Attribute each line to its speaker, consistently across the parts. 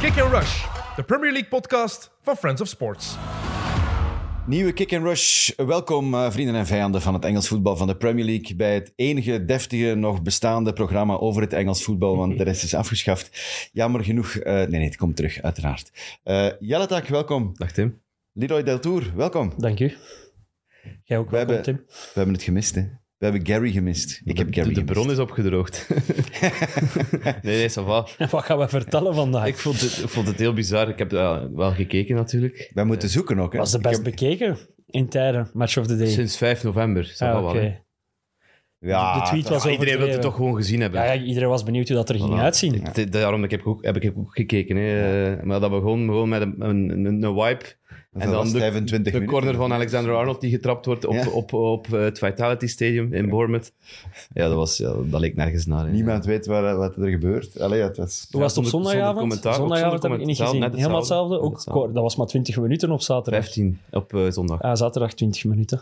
Speaker 1: Kick and Rush, de Premier League podcast van Friends of Sports.
Speaker 2: Nieuwe Kick and Rush. Welkom, eh, vrienden en vijanden van het Engels voetbal van de Premier League. Bij het enige deftige nog bestaande programma over het Engels voetbal, want de rest is afgeschaft. Jammer genoeg. eh, nee, nee, het komt terug, uiteraard. Eh Jelle Tak, welkom.
Speaker 3: Dag Tim.
Speaker 2: Leroy Deltour, welkom.
Speaker 4: Dank u. Jij ook
Speaker 2: We
Speaker 4: welkom,
Speaker 2: hebben-
Speaker 4: Tim.
Speaker 2: We hebben het gemist, hè? We hebben Gary gemist. Ik heb
Speaker 3: De-
Speaker 2: Gary
Speaker 3: De,
Speaker 2: gemist.
Speaker 3: bron is opgedroogd. nee, nee, ça va.
Speaker 4: Wat gaan we vertellen vandaag?
Speaker 3: Ik vond het, ik vond het heel bizar. Ik heb eh, wel gekeken natuurlijk.
Speaker 2: Wij moeten zoeken ook, hè?
Speaker 4: was de
Speaker 2: Ik
Speaker 4: best
Speaker 2: heb-
Speaker 4: bekeken in tijden, Match of the Day.
Speaker 3: Sinds 5 november. Ça
Speaker 4: Ah,
Speaker 3: va
Speaker 4: oké.
Speaker 3: wel, hè.
Speaker 2: Ja,
Speaker 4: de tweet
Speaker 2: dat-
Speaker 4: was
Speaker 3: Maar iedereen wil het
Speaker 4: overdreven.
Speaker 3: toch gewoon gezien hebben.
Speaker 4: Ja, ja, iedereen was benieuwd hoe dat er ging
Speaker 3: Voilà.
Speaker 4: uitzien.
Speaker 3: Ik- dit- daarom heb ik ook, heb ik ook gekeken. Hè. Eh, Maar dat begon gewoon met een, een, een, een wipe. en
Speaker 2: was
Speaker 3: dan de,
Speaker 2: 25
Speaker 3: de
Speaker 2: minuten.
Speaker 3: corner van Alexander Arnold die getrapt wordt op,
Speaker 2: Ja.
Speaker 3: op, op, eh, het Vitality Stadium in Bournemouth. Ja, dat, was, ja, dat leek nergens naar. hè.
Speaker 2: Niemand weet waar- wat er gebeurt. Allee, het was...
Speaker 4: Hoe was het op
Speaker 3: zonder- zonder
Speaker 4: zondagavond?
Speaker 3: commentaar, ook
Speaker 4: Zondagavond heb
Speaker 3: zonder
Speaker 4: ik niet
Speaker 3: commentaar,
Speaker 4: gezien.
Speaker 3: net
Speaker 4: Helemaal hetzelfde.
Speaker 3: hetzelfde.
Speaker 4: Ook,
Speaker 3: Net hetzelfde.
Speaker 4: kort, dat was maar 20 minuten op zaterdag.
Speaker 3: 15 op eh, zondag.
Speaker 4: Ah, zaterdag 20 minuten.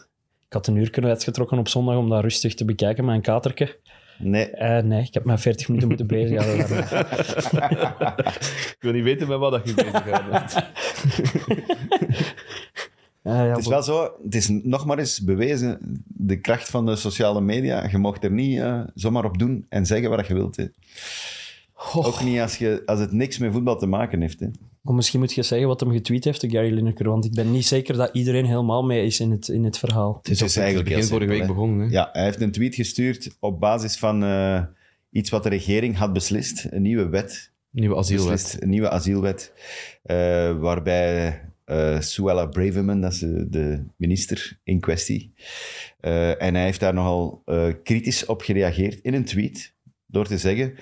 Speaker 4: Ik had een uur kunnen uitgetrokken op zondag om dat rustig te bekijken met een katerke.
Speaker 2: Nee,
Speaker 4: Eh, nee, ik heb maar 40 minuten moeten bezighouden.
Speaker 3: Ik wil niet weten met wat dat je bezig bent.
Speaker 4: Eh, ja,
Speaker 2: Het is wel zo, het is nog maar eens bewezen, de kracht van de sociale media. Je mag er niet eh, zomaar op doen en zeggen wat je wilt. Hè. Ook niet als, je, als het niks met voetbal te maken heeft. Hè.
Speaker 4: Maar misschien moet je zeggen wat hem getweet heeft, de Gary Lineker. Want ik ben niet zeker dat iedereen helemaal mee is in het, in het verhaal.
Speaker 3: Het is,
Speaker 2: is eigenlijk
Speaker 3: eigenlijk begin
Speaker 2: heel
Speaker 3: vorige week
Speaker 2: simpel,
Speaker 3: begonnen. Hè?
Speaker 2: Ja, hij heeft een tweet gestuurd op basis van eh, iets wat de regering had beslist. Een nieuwe wet.
Speaker 3: Nieuwe asielwet.
Speaker 2: Beslist, Dus een nieuwe asielwet. eh, waarbij eh Suella Braverman, dat is de, de minister in kwestie. eh, en hij heeft daar nogal eh, kritisch op gereageerd in een tweet. Door te zeggen: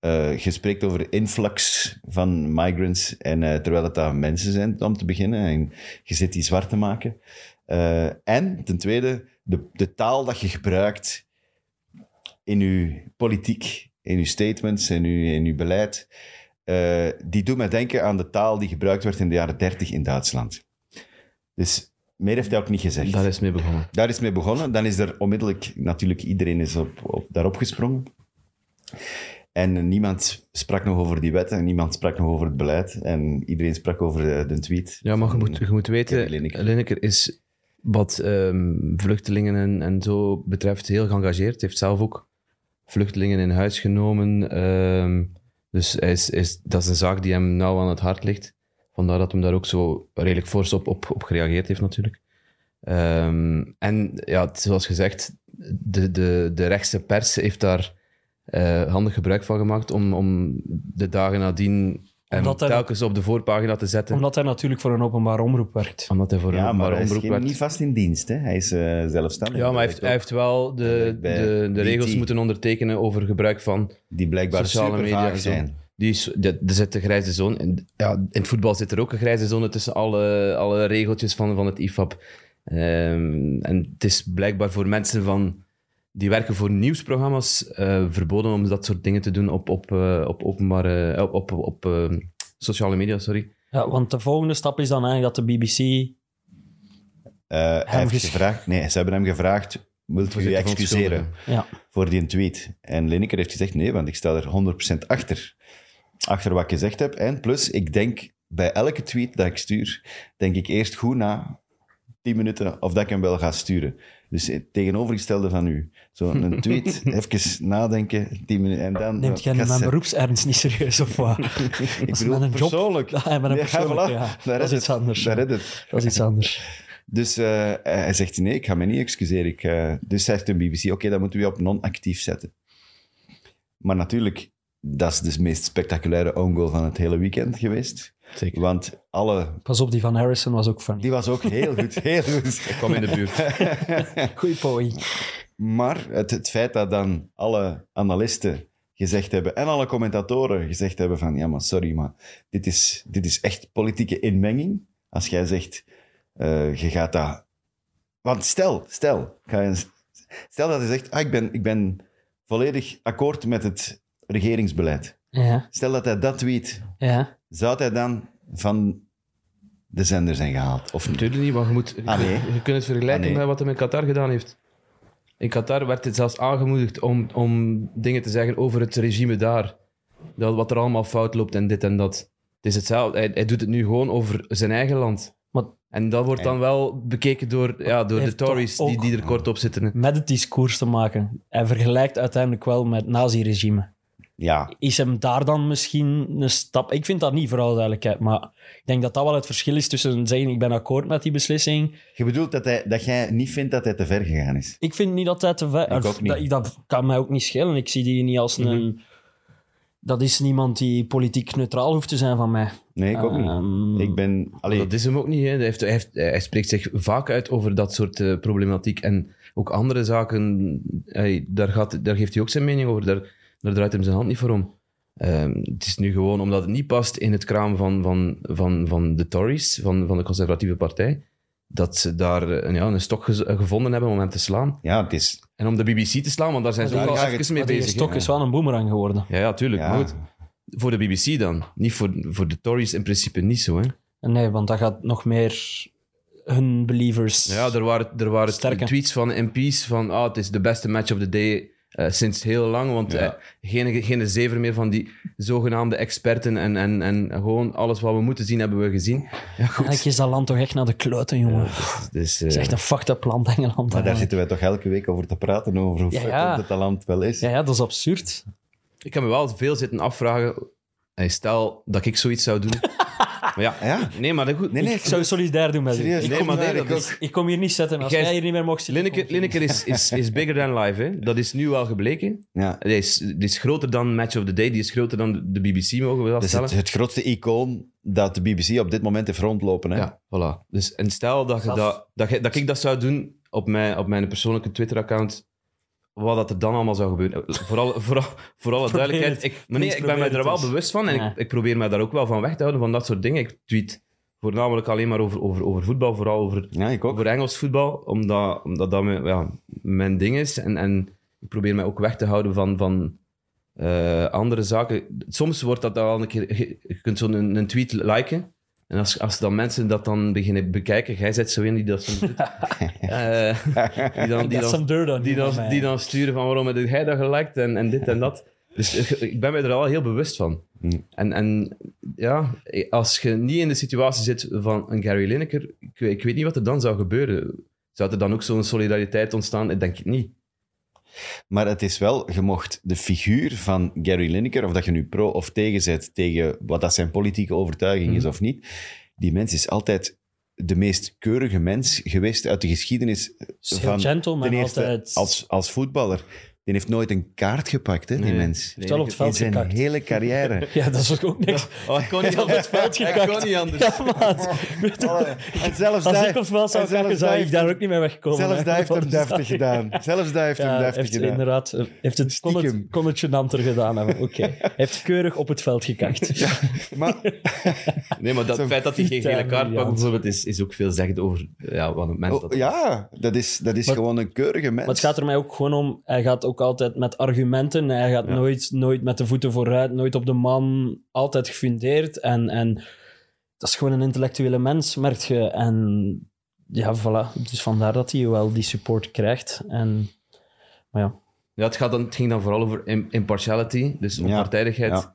Speaker 2: eh Je spreekt over influx van migrants. En eh, terwijl het daar mensen zijn om te beginnen. En je zit die zwart te maken. Eh, en ten tweede, de, de taal dat je gebruikt in je politiek, in je statements, in je, in uw beleid, eh, die doet mij denken aan de taal die gebruikt werd in de jaren 30 in Duitsland. Dus meer heeft hij ook niet gezegd.
Speaker 3: Daar is mee begonnen.
Speaker 2: Daar is mee begonnen. Dan is er onmiddellijk natuurlijk iedereen is op, op, daarop gesprongen. En niemand sprak nog over die wet en niemand sprak nog over het beleid. En iedereen sprak over eh, de, de tweet.
Speaker 3: Ja, maar je moet, je moet weten,
Speaker 2: Kevin Lineker.
Speaker 3: Lineker is wat ehm, vluchtelingen en, en zo betreft heel geëngageerd. Heeft zelf ook vluchtelingen in huis genomen. ehm, dus hij is, is, dat is een zaak die hem nauw aan het hart ligt. Vandaar dat hem daar ook zo redelijk fors op, op, op gereageerd heeft natuurlijk. Ehm, en ja, het- zoals gezegd, de, de, de rechtse pers heeft daar eh, handig gebruik van gemaakt om, om de dagen nadien hem
Speaker 4: Omdat hij-
Speaker 3: telkens op de voorpagina te zetten.
Speaker 4: Omdat hij natuurlijk voor een openbare omroep werkt.
Speaker 3: Omdat hij voor
Speaker 2: Ja,
Speaker 3: een
Speaker 2: maar
Speaker 3: maar
Speaker 2: hij is
Speaker 3: omroep
Speaker 2: geen-
Speaker 3: werd.
Speaker 2: niet vast in dienst. Hè. Hij is eh, zelfstandig.
Speaker 3: Ja, maar hij heeft, hij
Speaker 2: Hij
Speaker 3: heeft wel de,
Speaker 2: werkt bij E
Speaker 3: de, de
Speaker 2: BT.
Speaker 3: regels moeten ondertekenen over gebruik van
Speaker 2: die blijkbaar
Speaker 3: sociale media. en zo.
Speaker 2: zijn.
Speaker 3: Die is, de, er zit de grijze zone. In, ja, in het voetbal zit er ook een grijze zone tussen alle, alle regeltjes van, van het IFAB. Ehm, en het is blijkbaar voor mensen van, die werken voor nieuwsprogramma's eh, verboden om dat soort dingen te doen op, op, eh, op, openbare, eh, op, op, op eh, sociale media. Sorry.
Speaker 4: Ja, want de volgende stap is dan eigenlijk dat de BBC...
Speaker 2: Eh, hij heeft
Speaker 4: ges-
Speaker 2: gevraagd, nee, ze hebben hem gevraagd, wilt u u
Speaker 3: Voorzitter,
Speaker 2: excuseren
Speaker 3: verontschuldigen.
Speaker 4: Ja,
Speaker 2: voor die tweet? En Lineker heeft gezegd, nee, want ik sta er 100% achter. Achter wat ik gezegd heb. En plus, ik denk bij elke tweet dat ik stuur, denk ik eerst goed na, 10 minuten, of dat ik hem wel ga sturen. Dus het tegenovergestelde van u. Zo een tweet, even nadenken, 10 minuten, en dan...
Speaker 4: neemt jij nu
Speaker 2: Kassen.
Speaker 4: mijn beroepsernst niet serieus of wat? Dat
Speaker 2: Ik
Speaker 4: is
Speaker 2: bedoel,
Speaker 4: mijn job.
Speaker 2: persoonlijk.
Speaker 4: Ja, met een
Speaker 2: Ja,
Speaker 4: persoonlijk,
Speaker 2: voilà.
Speaker 4: ja.
Speaker 2: Daar
Speaker 4: Dat
Speaker 2: is
Speaker 4: is iets
Speaker 2: het.
Speaker 4: anders.
Speaker 2: Daar is het.
Speaker 4: is iets anders.
Speaker 2: Dus eh, hij zegt, nee, ik ga me niet excuseren. Ik, eh, dus zegt de BBC, oké, dan moeten we je op non-actief zetten. Maar natuurlijk, dat is dus de meest spectaculaire own goal van het hele weekend geweest.
Speaker 3: Zeker.
Speaker 2: Want alle...
Speaker 4: Pas op, die van Harrison was ook funny.
Speaker 2: Die was ook heel goed, heel goed.
Speaker 3: Kwam in de buurt.
Speaker 4: Goeie pooi.
Speaker 2: Maar het, het feit dat dan alle analisten gezegd hebben en alle commentatoren gezegd hebben van ja, maar sorry, maar dit is, dit is echt politieke inmenging. Als jij zegt, eh, je gaat dat... Want stel, stel, ga je, stel dat je zegt, ah, ik, ben, ik ben volledig akkoord met het regeringsbeleid.
Speaker 4: Ja,
Speaker 2: Stel dat hij dat weet,
Speaker 4: ja.
Speaker 2: zou hij dan van de zender zijn gehaald? Of niet?
Speaker 3: Natuurlijk niet, maar je, moet, je,
Speaker 2: Ah, nee.
Speaker 3: kunt- je kunt het vergelijken
Speaker 2: Ah, nee.
Speaker 3: met wat hij in Qatar gedaan heeft. In Qatar werd het zelfs aangemoedigd om, om dingen te zeggen over het regime daar. Dat, wat er allemaal fout loopt en dit en dat. Het is hetzelfde. Hij, hij doet het nu gewoon over zijn eigen land.
Speaker 4: Maar-
Speaker 3: en dat wordt dan wel bekeken door, ja, door de
Speaker 4: heeft toch
Speaker 3: Tories die,
Speaker 4: ook-
Speaker 3: die er kort op zitten.
Speaker 4: Met het discours te maken. Hij vergelijkt uiteindelijk wel met het naziregime.
Speaker 2: Ja,
Speaker 4: Is hem daar dan misschien een stap... Ik vind dat niet, vooral duidelijkheid. Maar ik denk dat dat wel het verschil is tussen zeggen ik ben akkoord met die beslissing.
Speaker 2: je bedoelt dat, hij, dat jij niet vindt dat hij te ver gegaan is.
Speaker 4: Ik vind niet dat hij te ver...
Speaker 2: Ik ook niet. Mhm.
Speaker 4: Dat, ik- dat kan mij ook niet schelen. Ik zie die niet als een... Dat is niemand die politiek neutraal hoeft te zijn van mij.
Speaker 2: Nee, ik ook
Speaker 4: Ehm,
Speaker 2: niet. Ik ben... Allee,
Speaker 3: Dat is hem ook niet. Hè. Hij, heeft, hij, heeft- hij spreekt zich vaak uit over dat soort eh, problematiek. En ook andere zaken, hij- daar, gaat, daar geeft hij ook zijn mening over. Daar, daar draait hem zijn hand niet voor om. Ehm, het is nu gewoon omdat het niet past in het kraam van, van, van, van de Tories, van, van de conservatieve partij, dat ze daar eh, ja, een stok gez- gevonden hebben om hem te slaan.
Speaker 2: ja, het is...
Speaker 3: En om de BBC te slaan, want daar zijn ze
Speaker 2: Maar
Speaker 3: ook
Speaker 2: daar
Speaker 3: al
Speaker 2: ga ik
Speaker 3: even mee
Speaker 4: Maar die
Speaker 3: bezig. hè.
Speaker 4: stok is wel een boemerang geworden.
Speaker 3: Ja, ja, tuurlijk.
Speaker 2: Ja.
Speaker 3: maar goed. Voor de BBC dan. Niet voor, voor de Tories in principe niet zo, hè.
Speaker 4: Nee, want dat gaat nog meer hun believers.
Speaker 3: Ja, er waren, er waren
Speaker 4: Sterke.
Speaker 3: tweets van MP's van ah het is de beste match of the day eh, sinds heel lang, want
Speaker 2: Ja.
Speaker 3: eh, geen, geen zever meer van die zogenaamde experten en, en, en gewoon alles wat we moeten zien hebben we gezien. Ja, goed.
Speaker 4: Eigenlijk is dat land toch echt naar de kluiten, jongen. Het
Speaker 3: Dus, eh,
Speaker 4: is echt een fucked up land, Engeland.
Speaker 2: Maar Ah, daar
Speaker 4: eigenlijk.
Speaker 2: zitten wij toch elke week over te praten, over hoe
Speaker 4: Ja,
Speaker 2: fucked
Speaker 4: ja.
Speaker 2: up dat talent wel is.
Speaker 4: ja, ja, dat is absurd.
Speaker 3: ik heb me wel veel zitten afvragen. Hey, stel dat ik zoiets zou doen. maar ja,
Speaker 2: Ja?
Speaker 3: nee, maar dat goed.
Speaker 2: Nee, nee,
Speaker 4: Ik zou solidair doen met
Speaker 2: serieus.
Speaker 4: u.
Speaker 3: Ik
Speaker 2: nee,
Speaker 3: kom
Speaker 2: maar
Speaker 3: daar,
Speaker 2: nee,
Speaker 3: ik
Speaker 2: dat
Speaker 3: ook.
Speaker 2: is-
Speaker 4: Ik kom hier niet zitten als
Speaker 3: Jij-
Speaker 4: jij hier niet meer mocht zitten.
Speaker 3: Lineker,
Speaker 4: kom ik
Speaker 3: Lineker is, is, is bigger than life, hè? dat is nu wel gebleken.
Speaker 2: Ja.
Speaker 3: Die is, die is groter dan Match of the Day, die is groter dan de BBC, mogen we wel
Speaker 2: Dat is
Speaker 3: stellen.
Speaker 2: het, het grootste icoon dat de BBC op dit moment heeft rondlopen. Hè?
Speaker 3: Ja, voilà. Dus, en stel dat, je
Speaker 4: Gaf.
Speaker 3: dat, dat, je- dat ik dat zou doen op mijn, op mijn persoonlijke Twitter-account, wat dat er dan allemaal zou gebeuren. Vooral, vooral, voor alle
Speaker 4: Probeer
Speaker 3: duidelijkheid.
Speaker 4: het.
Speaker 3: Ik, maar nee,
Speaker 4: Please
Speaker 3: ik ben mij
Speaker 4: probeer
Speaker 3: er
Speaker 4: het
Speaker 3: wel
Speaker 4: eens.
Speaker 3: bewust van en
Speaker 4: Ja.
Speaker 3: ik, ik probeer mij daar ook wel van weg te houden, van dat soort dingen. Ik tweet voornamelijk alleen maar over, over, over voetbal, vooral over,
Speaker 2: Ja, ik ook.
Speaker 3: over Engels voetbal, omdat, omdat dat mijn, ja, mijn ding is. En, en ik probeer mij ook weg te houden van, van eh, andere zaken. Soms wordt dat dan al een keer... Je je kunt zo'n een, een tweet liken. En als, als dan mensen dat dan beginnen bekijken... Jij zet zo in die dat soms doet. Eh, die dan, die
Speaker 4: Dat is
Speaker 3: dan,
Speaker 4: een deur dan.
Speaker 3: die
Speaker 4: hier
Speaker 3: dan,
Speaker 4: van mij.
Speaker 3: die dan sturen van waarom heb jij dat geliked en, en dit en dat. Dus eh, ik ben me er al heel bewust van.
Speaker 2: Hmm.
Speaker 3: En, en ja, als je niet in de situatie zit van een Gary Lineker, ik, weet- ik weet niet wat er dan zou gebeuren. Zou er dan ook zo'n solidariteit ontstaan? Ik denk het niet.
Speaker 2: Maar het is wel, je mocht de figuur van Gary Lineker, of dat je nu pro of tegen zet, tegen wat dat zijn politieke overtuiging is of niet, die mens is altijd de meest keurige mens geweest uit de geschiedenis.
Speaker 4: Is heel
Speaker 2: Van
Speaker 4: gentleman
Speaker 2: Ten eerste,
Speaker 4: altijd.
Speaker 2: als, als voetballer. Die heeft nooit een kaart gepakt, hè, die mens.
Speaker 4: Heeft wel op het
Speaker 2: In
Speaker 4: veld
Speaker 2: zijn
Speaker 4: gekakt.
Speaker 2: hele carrière.
Speaker 4: Ja, dat is ook niks.
Speaker 3: Oh, ik kon niet
Speaker 4: Op het veld gekakt. Ja, maat. Weet je,
Speaker 2: Oh, En zelfs
Speaker 4: Als
Speaker 2: daar-
Speaker 4: ik op het veld zou
Speaker 2: en zelfs
Speaker 4: kijken, zou
Speaker 2: daar
Speaker 4: ik
Speaker 2: heeft
Speaker 4: daar
Speaker 2: hem-
Speaker 4: ook niet mee wegkomen.
Speaker 2: Zelfs
Speaker 4: hè.
Speaker 2: daar heeft hem
Speaker 4: Dat
Speaker 2: deftig
Speaker 4: is-
Speaker 2: gedaan. Zelfs daar heeft hem
Speaker 4: Ja,
Speaker 2: deftig
Speaker 4: heeft
Speaker 2: gedaan.
Speaker 4: inderdaad eh, heeft het, kon, het,
Speaker 2: Stiekem.
Speaker 4: kon het gênanter gedaan hebben. Oké. Hij heeft keurig op het veld gekakt.
Speaker 2: Maar
Speaker 3: Nee, maar dat
Speaker 2: Zo'n
Speaker 3: feit dat hij geen gele
Speaker 4: vitaal
Speaker 3: kaart
Speaker 4: briljant.
Speaker 3: pakt, bijvoorbeeld, is, is ook veel zeggen over ja, wat een mens
Speaker 2: Oh,
Speaker 3: dat
Speaker 2: ja, dat is, dat is
Speaker 4: Maar-
Speaker 2: gewoon een keurige mens.
Speaker 4: Maar het gaat er mij ook gewoon om. Hij gaat ook altijd met argumenten. Hij gaat nooit, nooit met de voeten vooruit, nooit op de man. Altijd gefundeerd. En, en dat is gewoon een intellectuele mens, merk je. En ja, voilà. Dus vandaar dat hij wel die support krijgt. En, maar ja,
Speaker 3: Ja, het, gaat dan, het ging dan vooral over im- impartiality, dus onpartijdigheid.
Speaker 2: ja.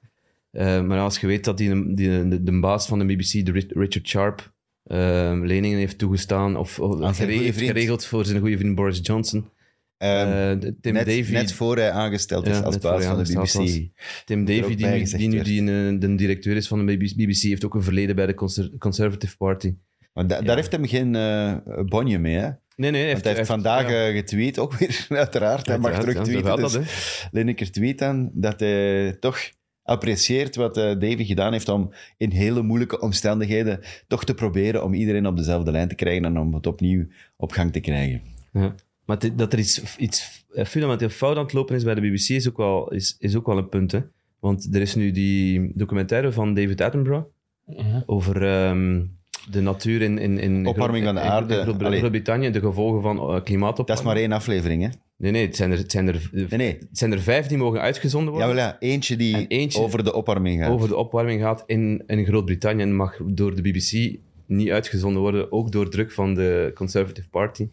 Speaker 3: Eh, maar als je weet dat die, die, de, de baas van de BBC, de Ri- Richard Sharp, eh, leningen heeft toegestaan of, of
Speaker 2: zijn
Speaker 3: gere-
Speaker 2: goede
Speaker 3: heeft
Speaker 2: vriend.
Speaker 3: geregeld voor zijn goede vriend Boris Johnson.
Speaker 2: Ehm,
Speaker 3: Eh, Tim
Speaker 2: net,
Speaker 3: Davy,
Speaker 2: net voor hij aangesteld
Speaker 3: Ja,
Speaker 2: is als
Speaker 3: net voor
Speaker 2: baas
Speaker 3: hij
Speaker 2: van de BBC.
Speaker 3: aangesteld Tim
Speaker 2: er
Speaker 3: Davy,
Speaker 2: ook
Speaker 3: die
Speaker 2: bij
Speaker 3: nu,
Speaker 2: gezegd
Speaker 3: die, nu
Speaker 2: werd.
Speaker 3: die, eh, de directeur is van de BBC, heeft ook een verleden bij de conser- Conservative Party.
Speaker 2: Maar da- daar heeft hem geen eh, bonje mee, hè? Want
Speaker 3: Nee, nee, hij heeft,
Speaker 2: hij heeft vandaag
Speaker 3: ja.
Speaker 2: eh, getweet, ook weer, uiteraard. Hij mag
Speaker 3: Uiteraard,
Speaker 2: terug
Speaker 3: ja, zo
Speaker 2: tweeten.
Speaker 3: gaat
Speaker 2: Dus
Speaker 3: dat, hè.
Speaker 2: Lineker tweet dan dat hij toch apprecieert wat eh, Davy gedaan heeft om in hele moeilijke omstandigheden toch te proberen om iedereen op dezelfde lijn te krijgen en om het opnieuw op gang te krijgen.
Speaker 3: Ja. Maar dit- dat er iets, iets eh, fundamenteel fout aan het lopen is bij de BBC is ook wel, is, is ook wel een punt. Hè? Want er is nu die documentaire van David Attenborough
Speaker 4: ja.
Speaker 3: over ehm, de natuur in, in, in
Speaker 2: Opwarming
Speaker 3: Groot-
Speaker 2: van de
Speaker 3: in- in
Speaker 2: aarde.
Speaker 3: Groot-
Speaker 2: Allee.
Speaker 3: Groot-Brittannië, de gevolgen van eh, klimaatopwarming.
Speaker 2: Dat is maar één aflevering, hè?
Speaker 3: Nee, nee, het zijn er, het zijn er, eh,
Speaker 2: Nee, nee.
Speaker 3: Het zijn er vijf die mogen uitgezonden worden.
Speaker 2: Ja, voilà. Eentje
Speaker 3: En
Speaker 2: die
Speaker 3: eentje-
Speaker 2: over de opwarming gaat.
Speaker 3: over de opwarming gaat in, in Groot-Brittannië en mag door de BBC niet uitgezonden worden, ook door druk van de Conservative Party,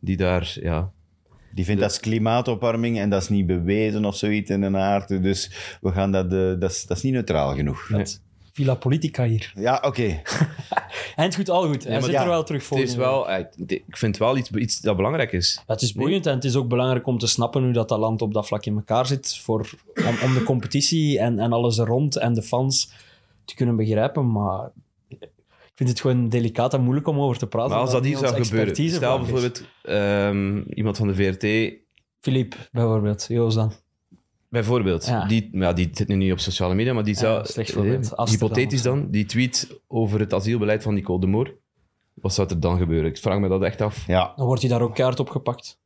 Speaker 3: die daar ja,
Speaker 2: Die vindt dat is klimaatopwarming en dat is niet bewezen of zoiets in een aard. Dus we gaan dat, eh, dat, is, dat is niet neutraal genoeg.
Speaker 3: Nee.
Speaker 4: Villa Politica hier.
Speaker 2: Ja, oké.
Speaker 4: En het goed, al goed. Hij
Speaker 3: maar
Speaker 4: zit
Speaker 2: ja,
Speaker 4: er wel terug voor.
Speaker 3: Het is wel, eh, het- ik vind het wel iets, iets dat belangrijk is.
Speaker 4: Het is boeiend en het is ook belangrijk om te snappen hoe dat, dat land op dat vlak in elkaar zit. Voor, om, om de competitie en, en alles er rond en de fans te kunnen begrijpen. Maar ik vind het gewoon delicaat en moeilijk om over te praten.
Speaker 3: Maar als
Speaker 4: omdat
Speaker 3: dat hier
Speaker 4: het niet
Speaker 3: zou
Speaker 4: ons
Speaker 3: gebeuren, stel
Speaker 4: expertisevak is.
Speaker 3: bijvoorbeeld ehm, iemand van de VRT,
Speaker 4: Philippe, bijvoorbeeld. Joost dan.
Speaker 3: bijvoorbeeld,
Speaker 4: Ja.
Speaker 3: die, maar ja, die zit nu niet op sociale media, maar die zou,
Speaker 4: slecht voorbeeld.
Speaker 3: eh,
Speaker 4: Als het er
Speaker 3: hypothetisch
Speaker 4: dan
Speaker 3: dan, die tweet over het asielbeleid van Nicole de Moor, wat zou er dan gebeuren? Ik vraag me dat echt af.
Speaker 2: Ja,
Speaker 4: Dan wordt hij daar ook kaart op gepakt.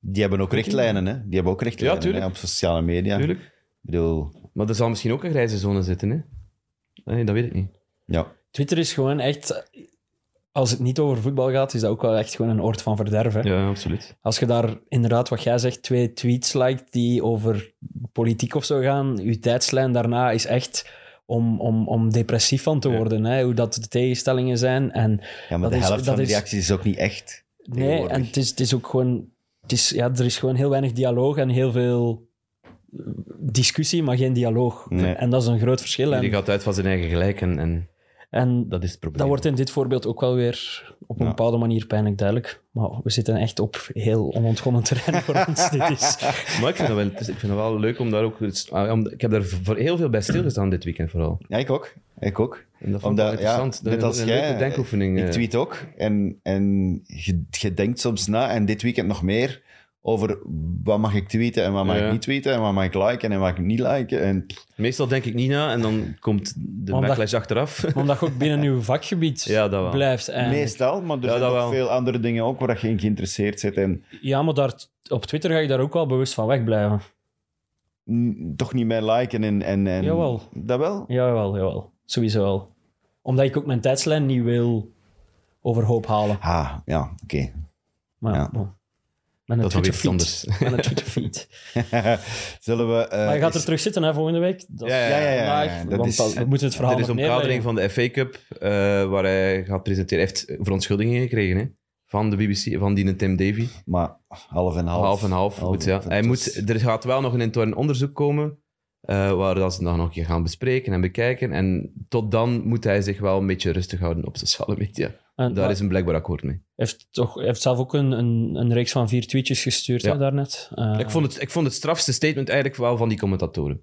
Speaker 2: die hebben ook richtlijnen, hè. Die hebben ook richtlijnen
Speaker 3: tuurlijk.
Speaker 2: hè, op sociale media.
Speaker 3: Tuurlijk.
Speaker 2: Ik bedoel,
Speaker 3: Maar er zal misschien ook een grijze zone zitten, hè? Nee, dat weet ik niet.
Speaker 2: ja.
Speaker 4: Twitter is gewoon echt... Als het niet over voetbal gaat, is dat ook wel echt gewoon een oord van verderven.
Speaker 3: Ja, absoluut.
Speaker 4: Als je daar inderdaad, wat jij zegt, twee tweets liked die over politiek of zo gaan, je tijdslijn daarna is echt om, om, om depressief van te worden. Hè? Hoe dat de tegenstellingen zijn. En,
Speaker 2: ja maar
Speaker 4: Dat
Speaker 2: de
Speaker 4: is-
Speaker 2: helft
Speaker 4: dat
Speaker 2: van de
Speaker 4: is-
Speaker 2: reacties is ook niet echt.
Speaker 4: nee,
Speaker 2: Tegenwoordig.
Speaker 4: en het is, het is ook gewoon... Het is, ja, er is gewoon heel weinig dialoog en heel veel eh, discussie, maar geen dialoog.
Speaker 2: Nee.
Speaker 4: En dat is een groot verschil.
Speaker 3: Die
Speaker 4: En,
Speaker 3: gaat uit van zijn eigen gelijk en, en
Speaker 4: en
Speaker 3: dat is het probleem.
Speaker 4: Dat wordt in dit voorbeeld ook wel weer op een
Speaker 2: Ja.
Speaker 4: bepaalde manier pijnlijk duidelijk. Maar we zitten echt op heel onontgonnen terrein voor ons. Dit is,
Speaker 3: Maar ik vind, dat wel, het is- ik vind dat wel leuk om daar ook... eens- ah, om- Ik heb daar voor heel veel bij stilgestaan dit weekend vooral.
Speaker 2: Ja, ik ook. Ik ook.
Speaker 3: En dat vond ik
Speaker 2: Omdat,
Speaker 3: wel interessant.
Speaker 2: ja,
Speaker 3: dat
Speaker 2: net als
Speaker 3: een
Speaker 2: jij,
Speaker 3: leuke denkoefening.
Speaker 2: Ik
Speaker 3: eh.
Speaker 2: tweet ook. En, en je, je denkt soms na, en dit weekend nog meer, over wat mag ik tweeten en wat mag
Speaker 3: Ja.
Speaker 2: ik niet tweeten, en wat mag ik liken en wat ik niet liken. En
Speaker 3: Meestal denk ik niet na en dan komt de
Speaker 4: Omdat-
Speaker 3: backlash achteraf.
Speaker 4: omdat je ook binnen uw vakgebied
Speaker 3: Ja, dat wel.
Speaker 4: blijft. En,
Speaker 2: meestal, maar er
Speaker 3: Ja,
Speaker 2: zijn
Speaker 3: dat
Speaker 2: ook
Speaker 3: wel.
Speaker 2: veel andere dingen ook waar je in geïnteresseerd bent. En
Speaker 4: Ja, maar daar, op Twitter ga je daar ook wel bewust van wegblijven.
Speaker 2: mm, toch niet meer liken en... en, en
Speaker 4: Jawel.
Speaker 2: Dat wel?
Speaker 4: Jawel, jawel. Sowieso wel. Omdat ik ook mijn tijdslijn niet wil overhoop halen.
Speaker 2: Ah, ja, oké.
Speaker 4: Maar
Speaker 2: Ja.
Speaker 4: ja, bon. Met een
Speaker 3: Dat is wel iets
Speaker 4: Twitterfeed.
Speaker 3: anders.
Speaker 4: Met een Twitterfeed.
Speaker 2: Zullen we... eh,
Speaker 4: Maar je gaat er
Speaker 2: eens-
Speaker 4: terug zitten hè, volgende week. Dat is
Speaker 3: Ja, ja,
Speaker 2: ja, ja, ja,
Speaker 4: vandaag,
Speaker 2: dat
Speaker 4: want
Speaker 2: is-
Speaker 4: dan- we moeten het verhaal
Speaker 3: er is
Speaker 4: nog
Speaker 3: een
Speaker 4: meer
Speaker 3: kadering
Speaker 4: leggen.
Speaker 3: van de FA Cup eh, waar hij gaat presenteren. Hij heeft verontschuldigingen gekregen hè, van de BBC, van die Tim Davy.
Speaker 2: Maar half en half.
Speaker 3: Half, en half, goed, ja.
Speaker 2: dat
Speaker 3: Hij
Speaker 2: is-
Speaker 3: moet, er gaat wel nog een intern onderzoek komen, eh, waar dat ze dan nog een keer gaan bespreken en bekijken. En tot dan moet hij zich wel een beetje rustig houden op sociale media.
Speaker 4: En-
Speaker 3: Daar is een blijkbaar akkoord mee.
Speaker 4: heeft, toch, heeft zelf ook een, een, een reeks van vier tweetjes gestuurd
Speaker 3: Ja.
Speaker 4: hè, daarnet. Eh,
Speaker 3: Ik vond, het, ik vond het strafste statement eigenlijk wel van die commentatoren.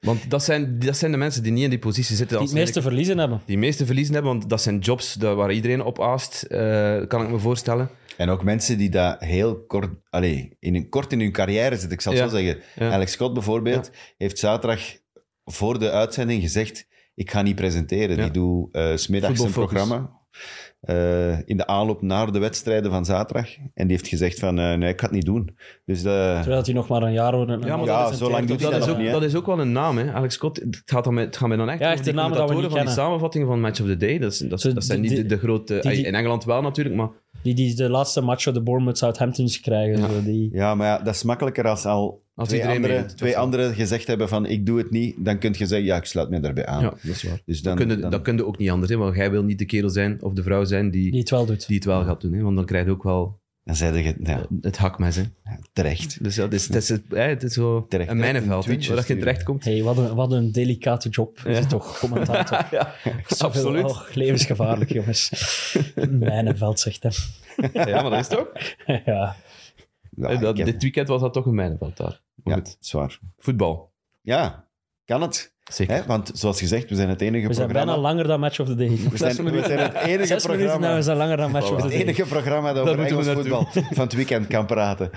Speaker 3: Want dat zijn, dat zijn de mensen die niet in die positie zitten.
Speaker 4: die
Speaker 3: als
Speaker 4: het meeste
Speaker 3: eigenlijk-
Speaker 4: verliezen hebben.
Speaker 3: die het meeste verliezen hebben, want dat zijn jobs daar waar iedereen op aast, eh, kan ik me voorstellen.
Speaker 2: En ook mensen die daar heel kort, allee, in een, kort in hun carrière zitten. Ik zal het
Speaker 3: Ja.
Speaker 2: zo zeggen.
Speaker 3: Ja.
Speaker 2: Alex Scott bijvoorbeeld heeft zaterdag voor de uitzending gezegd: Ik ga niet presenteren.
Speaker 3: Ja.
Speaker 2: Die doe eh, 's middags een
Speaker 3: Voetbalfocus.
Speaker 2: programma. eh, in de aanloop naar de wedstrijden van zaterdag. En die heeft gezegd: van, eh, Nee, ik ga het niet doen. Dus eh,
Speaker 4: Terwijl die nog maar een jaar worden.
Speaker 3: Ja, maar
Speaker 2: ja, zo lang doet hij
Speaker 3: Dat
Speaker 2: dat
Speaker 3: is,
Speaker 2: nog
Speaker 3: ook,
Speaker 2: niet. hè.
Speaker 3: dat is ook wel een naam, hè. Alex Scott. Het gaat, dan met, het gaat mij dan echt
Speaker 4: Ja,
Speaker 3: om
Speaker 4: echt
Speaker 3: die
Speaker 4: de namen dat we
Speaker 3: commentatoren
Speaker 4: niet kennen.
Speaker 3: van die samenvattingen van Match of the Day. Dat, is, dat, is-
Speaker 4: Zo,
Speaker 3: dat zijn
Speaker 4: die-
Speaker 3: niet de,
Speaker 4: die-
Speaker 3: de grote...
Speaker 4: die- die-
Speaker 3: in Engeland wel natuurlijk, maar...
Speaker 4: Die, die de laatste match op de Bournemouth Southamptons krijgen. Zo, die,
Speaker 2: ja, maar ja, dat is makkelijker als al
Speaker 3: Als
Speaker 2: twee,
Speaker 3: iedereen
Speaker 2: anderen,
Speaker 3: meedoet,
Speaker 2: twee
Speaker 3: dat is wel-
Speaker 2: anderen gezegd hebben: van, Ik doe het niet. Dan kun je zeggen: Ja, ik sluit me daarbij aan.
Speaker 3: Ja, dat is waar.
Speaker 2: Dus
Speaker 3: Dan,
Speaker 2: dan,
Speaker 3: kun je,
Speaker 2: dan-
Speaker 3: dat kun je ook niet anders, hè. Want jij wil niet de kerel zijn of de vrouw zijn die,
Speaker 4: die
Speaker 3: die,
Speaker 4: het wel doet.
Speaker 3: het wel gaat doen, hè. Want dan krijg je ook wel
Speaker 2: dan zei je: ja,
Speaker 3: het hakmes, hè.
Speaker 2: Terecht.
Speaker 3: Dus dat is, het is, het- hè, het is zo
Speaker 2: Terecht,
Speaker 3: een
Speaker 2: hè.
Speaker 3: mijnenveld, hè,
Speaker 2: Tweetjes
Speaker 3: waar dat je
Speaker 2: sturen.
Speaker 3: terecht komt.
Speaker 4: Hey, wat, een, wat een delicate job is het toch, commentator.
Speaker 3: Ja,
Speaker 4: Zoveel-
Speaker 3: absoluut.
Speaker 4: oh, levensgevaarlijk, jongens. Mijnenveld, zegt hem.
Speaker 3: Ja, maar dat is toch?
Speaker 4: ja.
Speaker 2: Ja,
Speaker 3: Eh, dat,
Speaker 2: ik heb-
Speaker 3: dit weekend was dat toch een mijnenveld daar. Maar
Speaker 2: ja,
Speaker 3: goed,
Speaker 2: zwaar.
Speaker 3: voetbal.
Speaker 2: Ja, kan het.
Speaker 3: Zeker.
Speaker 2: Hè? Want zoals gezegd, we zijn het enige
Speaker 4: We zijn
Speaker 2: programma...
Speaker 4: bijna langer dan Match of the Day.
Speaker 2: we, zijn, we zijn het enige
Speaker 4: Zes minuten
Speaker 2: programma...
Speaker 4: nou en we zijn langer dan Match of the
Speaker 2: Het
Speaker 4: Day.
Speaker 2: enige programma dat
Speaker 3: Daar
Speaker 2: over
Speaker 3: moeten we
Speaker 2: Engels voetbal van het weekend kan praten.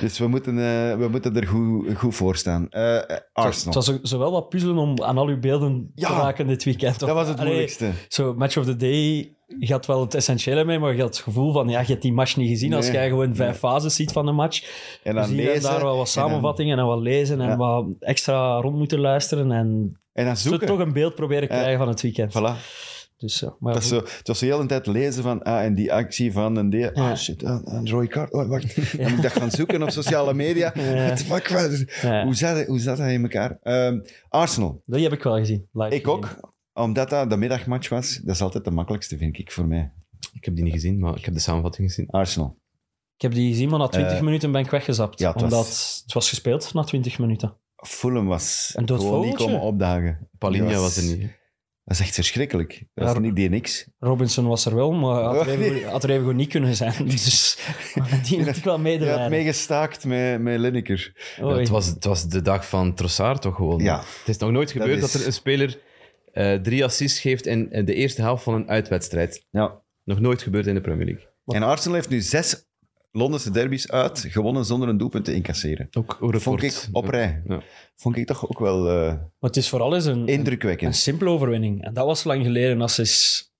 Speaker 2: Dus we moeten, eh, we moeten er goed, goed voor staan. Eh, eh, Arsenal.
Speaker 4: Het was ook zowel wat puzzelen om aan al uw beelden te
Speaker 2: Ja,
Speaker 4: raken dit weekend. toch?
Speaker 2: dat was het
Speaker 4: Allee,
Speaker 2: moeilijkste.
Speaker 4: Zo, match of the day gaat wel het essentiële mee, maar je had het gevoel van, ja, je hebt die match niet gezien als
Speaker 2: Nee.
Speaker 4: jij gewoon vijf fases ziet van de match.
Speaker 2: En
Speaker 4: Dan
Speaker 2: dan
Speaker 4: zie je
Speaker 2: lezen.
Speaker 4: daar wel wat
Speaker 2: en dan-
Speaker 4: samenvattingen en, wat lezen en
Speaker 2: Ja.
Speaker 4: wat extra rond moeten luisteren en
Speaker 2: En dan
Speaker 4: zo
Speaker 2: zoeken.
Speaker 4: toch een beeld proberen krijgen van het weekend.
Speaker 2: Voilà.
Speaker 4: Dus, ja, maar
Speaker 2: Dat is
Speaker 4: goed.
Speaker 2: zo, het was de hele tijd lezen van, ah, en die actie van, en die... Ah, shit, ah, een rode kaart. Oh, wacht. Dan moet ik dat gaan zoeken op sociale media.
Speaker 4: Ja.
Speaker 2: What the fuck? wat-
Speaker 4: Ja.
Speaker 2: Hoe zat, hoe zat dat in elkaar? Ehm, Arsenal.
Speaker 4: die heb ik wel gezien. live
Speaker 2: Ik
Speaker 4: gezien.
Speaker 2: ook. Omdat dat de middagmatch was, dat is altijd de makkelijkste, vind ik, voor mij.
Speaker 3: Ik heb die niet gezien, maar ik heb de samenvatting gezien.
Speaker 2: Arsenal.
Speaker 4: Ik heb die gezien, maar na 20
Speaker 2: Eh,
Speaker 4: minuten ben ik weggezapt.
Speaker 2: ja, het was-
Speaker 4: omdat het was gespeeld na 20 minuten.
Speaker 2: Fulham was
Speaker 4: Een dood
Speaker 2: gewoon niet
Speaker 4: vogeltje?
Speaker 2: komen opdagen.
Speaker 3: Palinha
Speaker 2: Die
Speaker 3: was er niet. hè.
Speaker 2: Dat is echt verschrikkelijk. Dat is
Speaker 4: Ja,
Speaker 2: niet die niks.
Speaker 4: Robinson was er wel, maar had er even,
Speaker 2: Nee.
Speaker 4: had er even goed niet kunnen zijn. Dus die moet ik wel
Speaker 2: Je had
Speaker 4: medelijden.
Speaker 2: meegestaakt met, met Lineker.
Speaker 4: Oei.
Speaker 3: Ja, het, was, het was de dag van Trossard toch gewoon.
Speaker 2: Ja.
Speaker 3: Het is nog nooit
Speaker 2: Dat
Speaker 3: gebeurd dat,
Speaker 2: is-
Speaker 3: er een speler eh, drie assists geeft in, in de eerste helft van een uitwedstrijd.
Speaker 2: Ja.
Speaker 3: Nog nooit gebeurd in de Premier League.
Speaker 2: En Arsenal heeft nu zes Londense derbies uit, gewonnen zonder een doelpunt te incasseren.
Speaker 3: Ook record.
Speaker 2: Vond ik op rij.
Speaker 3: Ja.
Speaker 2: Vond ik toch ook wel eh,
Speaker 4: Maar het is vooral eens een, een, een
Speaker 2: indrukwekkend.
Speaker 4: simpele overwinning. En dat was lang geleden als ze s-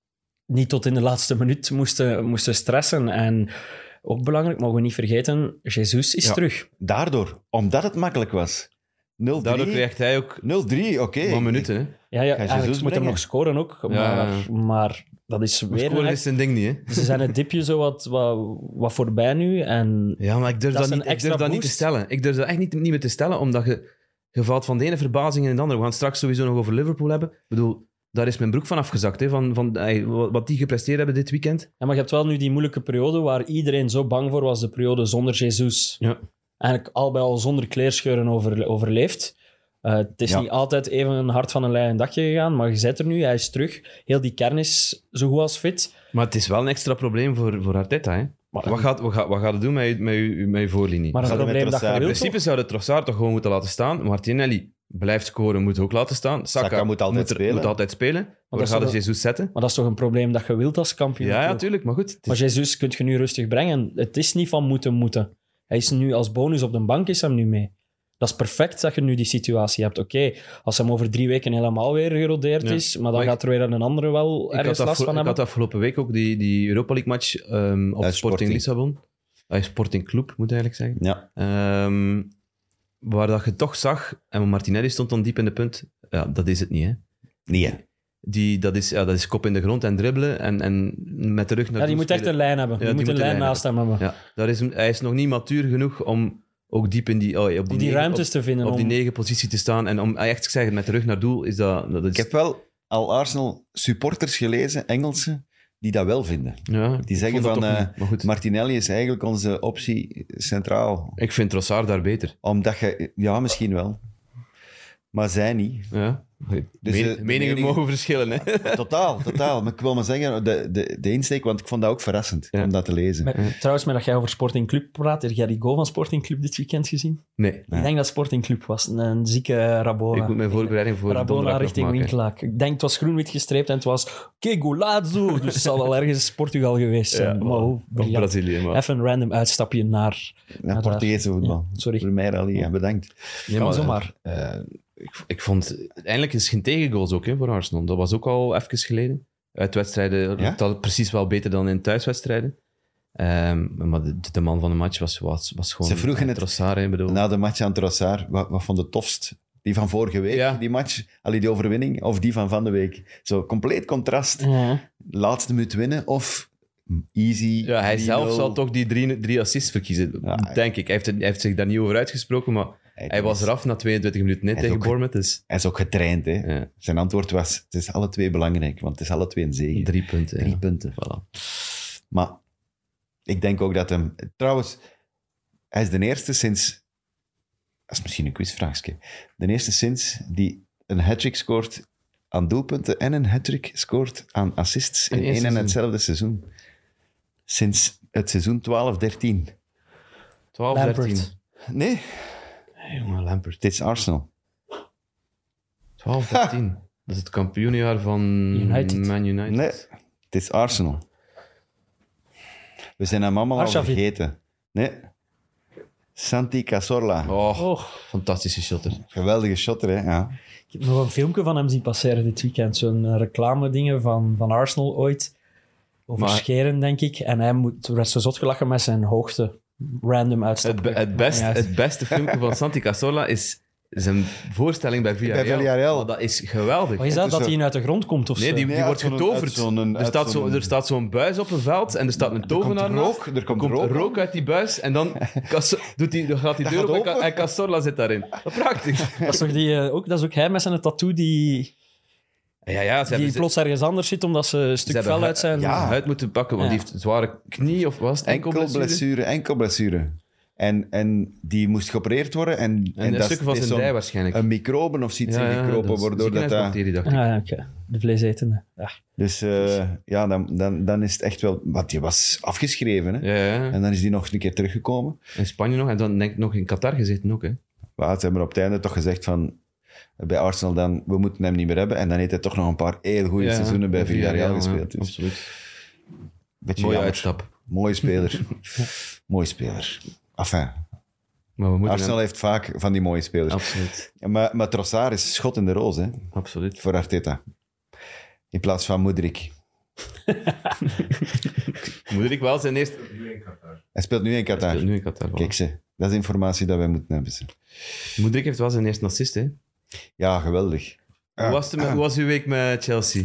Speaker 4: niet tot in de laatste minuut moesten, moesten stressen. En ook belangrijk, mogen we niet vergeten, Jesus is
Speaker 3: Ja.
Speaker 4: terug.
Speaker 2: Daardoor, omdat het makkelijk was. 0-3. 0-3,
Speaker 3: Daardoor
Speaker 2: oké.
Speaker 3: krijgt hij ook wat minuten. Hè.
Speaker 4: Ja, ja
Speaker 2: Gaat Jesus
Speaker 4: eigenlijk moet hem
Speaker 2: brengen?
Speaker 4: nog scoren ook. Maar, maar dat is
Speaker 3: Maar
Speaker 4: weer...
Speaker 3: scoren
Speaker 4: een
Speaker 3: is zijn ding niet. Hè.
Speaker 4: Ze zijn het dipje zo wat, wat, wat voorbij nu. En
Speaker 3: Ja, maar ik durf
Speaker 4: Dat
Speaker 3: dat,
Speaker 4: is een
Speaker 3: niet, ik
Speaker 4: extra
Speaker 3: durf dat niet te
Speaker 4: boost.
Speaker 3: stellen. Ik durf dat echt niet, niet meer te stellen, omdat je, je valt van de ene verbazing in de andere. We gaan het straks sowieso nog over Liverpool hebben. Ik bedoel, daar is mijn broek van afgezakt. Hè, van, van, ey, wat wat die gepresteerd hebben dit weekend.
Speaker 4: Ja, maar je hebt wel nu die moeilijke periode waar iedereen zo bang voor was, de periode zonder Jesus.
Speaker 3: Ja.
Speaker 4: Eigenlijk al bij al zonder kleerscheuren over, overleefd. Eh, het is
Speaker 2: Ja.
Speaker 4: niet altijd even hard van een leien dakje gegaan, maar je zit er nu, hij is terug. Heel die kern is zo goed als fit.
Speaker 3: Maar het is wel een extra probleem voor, voor Arteta. Hè.
Speaker 4: Maar-
Speaker 3: wat gaat, wat gaat, wat gaat het doen met je, met je, met je voorlinie?
Speaker 4: Maar
Speaker 2: Gaat
Speaker 4: het
Speaker 2: hij met
Speaker 4: probleem dat je
Speaker 2: Trossard?
Speaker 3: in
Speaker 4: wil,
Speaker 3: principe
Speaker 4: toch?
Speaker 3: zou de Trossard toch gewoon moeten laten staan. Martinelli blijft scoren, moet ook laten staan. Saka,
Speaker 2: Saka moet altijd
Speaker 3: er-
Speaker 2: spelen.
Speaker 3: Moet altijd spelen.
Speaker 4: dat
Speaker 3: Waar
Speaker 4: is
Speaker 3: gaat
Speaker 4: toch
Speaker 3: het Jesus zetten?
Speaker 4: Maar dat is toch een probleem dat je wilt als kampioen?
Speaker 3: Ja, ja, tuurlijk. Maar goed, het
Speaker 4: Maar
Speaker 3: is,
Speaker 4: Jesus kun je nu rustig brengen. Het is niet van moeten moeten. Hij is nu als bonus op de bank, is hem nu mee. Dat is perfect dat je nu die situatie hebt. Oké, als hem over drie weken helemaal weer gerodeerd
Speaker 3: Ja.
Speaker 4: is, maar dan
Speaker 3: Maar ik-
Speaker 4: gaat er weer een andere wel
Speaker 3: ik, had
Speaker 4: ergens
Speaker 3: dat
Speaker 4: last
Speaker 3: voor-
Speaker 4: van
Speaker 3: ik
Speaker 4: hebben.
Speaker 3: had afgelopen week ook die, die Europa League match ehm, op
Speaker 2: Bij
Speaker 3: Sporting,
Speaker 2: Sporting.
Speaker 3: Lissabon. Bij Sporting Club, moet ik eigenlijk zeggen.
Speaker 2: Ja.
Speaker 3: Ehm, waar dat je toch zag, en Martinelli stond dan diep in de punt. Ja, dat is het niet, hè.
Speaker 2: Nee, hè.
Speaker 3: Die, dat, is, ja, dat is kop in de grond en dribbelen en, en met de rug naar
Speaker 4: Ja,
Speaker 3: doel
Speaker 4: die moet echt
Speaker 3: spelen.
Speaker 4: een lijn hebben.
Speaker 3: Ja,
Speaker 4: die, moet een lijn naast hem hebben.
Speaker 3: Ja, daar is, hem- hij is nog niet matuur genoeg om ook diep in die, oh, op die,
Speaker 4: Om die
Speaker 3: negen-
Speaker 4: ruimtes
Speaker 3: op,
Speaker 4: te vinden.
Speaker 3: op die
Speaker 4: om-
Speaker 3: negen positie te staan. En om ah, echt te zeggen, met de rug naar doel is dat... dat is,
Speaker 2: Ik heb wel al Arsenal supporters gelezen, Engelsen, die dat wel vinden.
Speaker 3: ja,
Speaker 2: Die zeggen
Speaker 3: ik vond dat
Speaker 2: van,
Speaker 3: toch
Speaker 2: eh,
Speaker 3: niet. maar goed,
Speaker 2: Martinelli is eigenlijk onze optie centraal.
Speaker 3: ik vind Trossard daar beter.
Speaker 2: Omdat je... Ja, misschien wel. Maar zij niet.
Speaker 3: Ja. Men-
Speaker 2: de
Speaker 3: meningen,
Speaker 2: meningen-
Speaker 3: mogen verschillen, hè.
Speaker 2: Totaal, totaal. Maar ik wil maar zeggen, de, de, de insteek, want ik vond dat ook verrassend
Speaker 3: Ja.
Speaker 2: om dat te lezen.
Speaker 4: Met- trouwens, met dat jij over Sporting Club praat, heb jij die goal van Sporting Club dit weekend gezien?
Speaker 3: Nee,
Speaker 2: Nee.
Speaker 4: Ik denk dat Sporting Club was. Een, een zieke Rabona.
Speaker 3: ik moet mijn voorbereiding voor donderdag
Speaker 4: Rabona
Speaker 3: nog
Speaker 4: richting
Speaker 3: maken.
Speaker 4: Winkelaak. Ik denk het was groen-wit gestreept en het was Kegolazo. Dus het zal wel ergens Portugal geweest zijn.
Speaker 3: Ja,
Speaker 4: maar hoe
Speaker 3: Of
Speaker 4: briljant.
Speaker 3: Brazilië, maar...
Speaker 4: Even een random uitstapje naar...
Speaker 2: Ja, Portugese voetbal.
Speaker 4: Sorry.
Speaker 2: Voor mij, Ali. Ja, bedankt.
Speaker 3: Ja,
Speaker 4: kan
Speaker 3: maar,
Speaker 4: zomaar.
Speaker 3: eh, ik, ik vond... Eindelijk is geen tegengoals ook hè, voor Arsenal. Dat was ook al even geleden. Uit wedstrijden
Speaker 2: Ja?
Speaker 3: lukt dat precies wel beter dan in thuiswedstrijden. Ehm, maar de, de man van de match was, was, was gewoon...
Speaker 2: Ze vroegen het- Nou,
Speaker 3: Trossard, hè, bedoel.
Speaker 2: Na de match aan Trossard, wat, wat vond je het tofst? Die van vorige week,
Speaker 3: Ja.
Speaker 2: die match, Ali, die overwinning, of die van van de week? Zo, compleet contrast.
Speaker 4: Ja.
Speaker 2: Laatste minuut winnen, of easy.
Speaker 3: ja, hij
Speaker 2: 3-0.
Speaker 3: zelf zal toch die drie, drie assists verkiezen,
Speaker 2: Ja, hij-
Speaker 3: denk ik. Hij heeft, het- hij heeft zich daar niet over uitgesproken, maar hij was eraf na 22 minuten net
Speaker 2: Hij is
Speaker 3: tegen
Speaker 2: ook-
Speaker 3: Bournemouth. Dus
Speaker 2: Hij is ook getraind, hè.
Speaker 3: ja,
Speaker 2: Zijn antwoord was, het is alle twee belangrijk, want het is alle twee een zege.
Speaker 3: drie punten.
Speaker 2: Drie
Speaker 3: ja.
Speaker 2: punten.
Speaker 3: Voilà.
Speaker 2: Maar ik denk ook dat hem... Trouwens, hij is de eerste sinds... Dat is misschien een quizvraagje. De eerste sinds die een hat-trick scoort aan doelpunten en een hat-trick scoort aan assists
Speaker 3: In
Speaker 2: in
Speaker 3: één
Speaker 2: één en
Speaker 3: seizoen.
Speaker 2: hetzelfde seizoen. Sinds het seizoen 12-13.
Speaker 3: 12,
Speaker 4: Lampert.
Speaker 3: 13.
Speaker 2: Nee,
Speaker 3: Hey, jongen, Lampert.
Speaker 2: het is Arsenal.
Speaker 3: 12, 13. Dat is het kampioenjaar van
Speaker 4: United.
Speaker 3: Man United.
Speaker 2: Nee, het is Arsenal. We zijn hem allemaal al
Speaker 4: Arshavin.
Speaker 2: vergeten. Nee. Santi Cazorla.
Speaker 3: Oh,
Speaker 4: Oh,
Speaker 3: fantastische shotter.
Speaker 2: Geweldige shotter, hè? Ja.
Speaker 4: ik heb nog een filmpje van hem zien passeren dit weekend. Zo'n eh, reclame-dingen van, van Arsenal ooit. Over
Speaker 3: Maar-
Speaker 4: scheren, denk ik. En hij moet werd zo zot gelachen met zijn hoogte. Random
Speaker 3: Het,
Speaker 4: uitstapje.
Speaker 3: be- het, best,
Speaker 4: Ja,
Speaker 3: het beste filmpje van Santi Cazorla is zijn voorstelling bij Villarreal.
Speaker 2: Bij Villarreal.
Speaker 3: Maar dat is geweldig.
Speaker 4: Wat Oh, is dat?
Speaker 2: is
Speaker 4: Dat
Speaker 2: zo-
Speaker 4: hij uit de grond komt of
Speaker 3: Nee,
Speaker 4: zo?
Speaker 3: die, die
Speaker 2: Nee,
Speaker 3: wordt
Speaker 2: uit zo'n- uit
Speaker 3: getoverd.
Speaker 2: zo'n-
Speaker 3: er,
Speaker 2: uit
Speaker 3: staat zo,
Speaker 2: zo'n-
Speaker 3: er staat zo'n buis op een veld en er staat een tovenaar naast.
Speaker 2: rook, er komt rook.
Speaker 3: uit die buis en dan, Caso- doet die, dan gaat die
Speaker 2: Dat
Speaker 3: deur
Speaker 2: gaat
Speaker 3: open en Ca-
Speaker 2: open.
Speaker 3: en Cazorla zit daarin. Prachtig.
Speaker 4: Dat is toch die, eh, ook, dat is ook hij met zijn tattoo die...
Speaker 3: Ja, ja, ze
Speaker 4: die
Speaker 3: hebben, ze,
Speaker 4: plots ergens anders zit omdat ze een stuk
Speaker 3: hebben
Speaker 4: fel
Speaker 3: hu-
Speaker 4: uit zijn.
Speaker 2: ja.
Speaker 3: huid moeten pakken, want
Speaker 4: Ja.
Speaker 3: die heeft zware knie of was het
Speaker 2: Enkel blessure, enkel blessure. En, en die moest geopereerd worden. En, en,
Speaker 3: En,
Speaker 2: dat
Speaker 3: een
Speaker 2: is-
Speaker 3: stuk van
Speaker 2: het is
Speaker 3: zijn
Speaker 2: zo'n-
Speaker 3: dij waarschijnlijk.
Speaker 2: Een microben of zoiets in die kropen,
Speaker 3: dat is
Speaker 2: waardoor dat... eh, dat
Speaker 3: ziekenhuisbacterie, dacht ik.
Speaker 4: Ah, ja, oké. De vleesetende. Ja.
Speaker 2: dus eh, ja, dan, dan, dan is het echt wel... Want die was afgeschreven, hè.
Speaker 3: Ja, ja.
Speaker 2: En dan is die nog eens een keer teruggekomen.
Speaker 3: In Spanje nog. En dan denk ik nog in Qatar gezeten ook, hè.
Speaker 2: Maar ze hebben op het einde toch gezegd van... Bij Arsenal dan, we moeten hem niet meer hebben. En dan heeft hij toch nog een paar heel goede
Speaker 3: Ja,
Speaker 2: seizoenen bij Villarreal
Speaker 3: ja,
Speaker 2: gespeeld. Dus
Speaker 3: absoluut.
Speaker 2: beetje
Speaker 3: Mooie
Speaker 2: jammer.
Speaker 3: uitstap.
Speaker 2: Mooie speler. mooie speler. Enfin,
Speaker 3: Maar we moeten
Speaker 2: Arsenal heeft vaak van die mooie
Speaker 3: hem-
Speaker 2: spelers.
Speaker 3: Absoluut.
Speaker 2: Maar, maar Trossard is schot in de roos, hè,
Speaker 3: Absoluut.
Speaker 2: voor Arteta. In plaats van Moedrik.
Speaker 3: Moet ik wel zijn eerste...
Speaker 2: Hij speelt nu in Qatar.
Speaker 3: Nu in Qatar.
Speaker 2: Kijk ze, dat is informatie dat wij moeten hebben. Ze.
Speaker 3: Moedrik heeft wel zijn eerste assist, hè.
Speaker 2: Ah. Ja, geweldig.
Speaker 3: Hoe, was het met- hoe was uw week met Chelsea?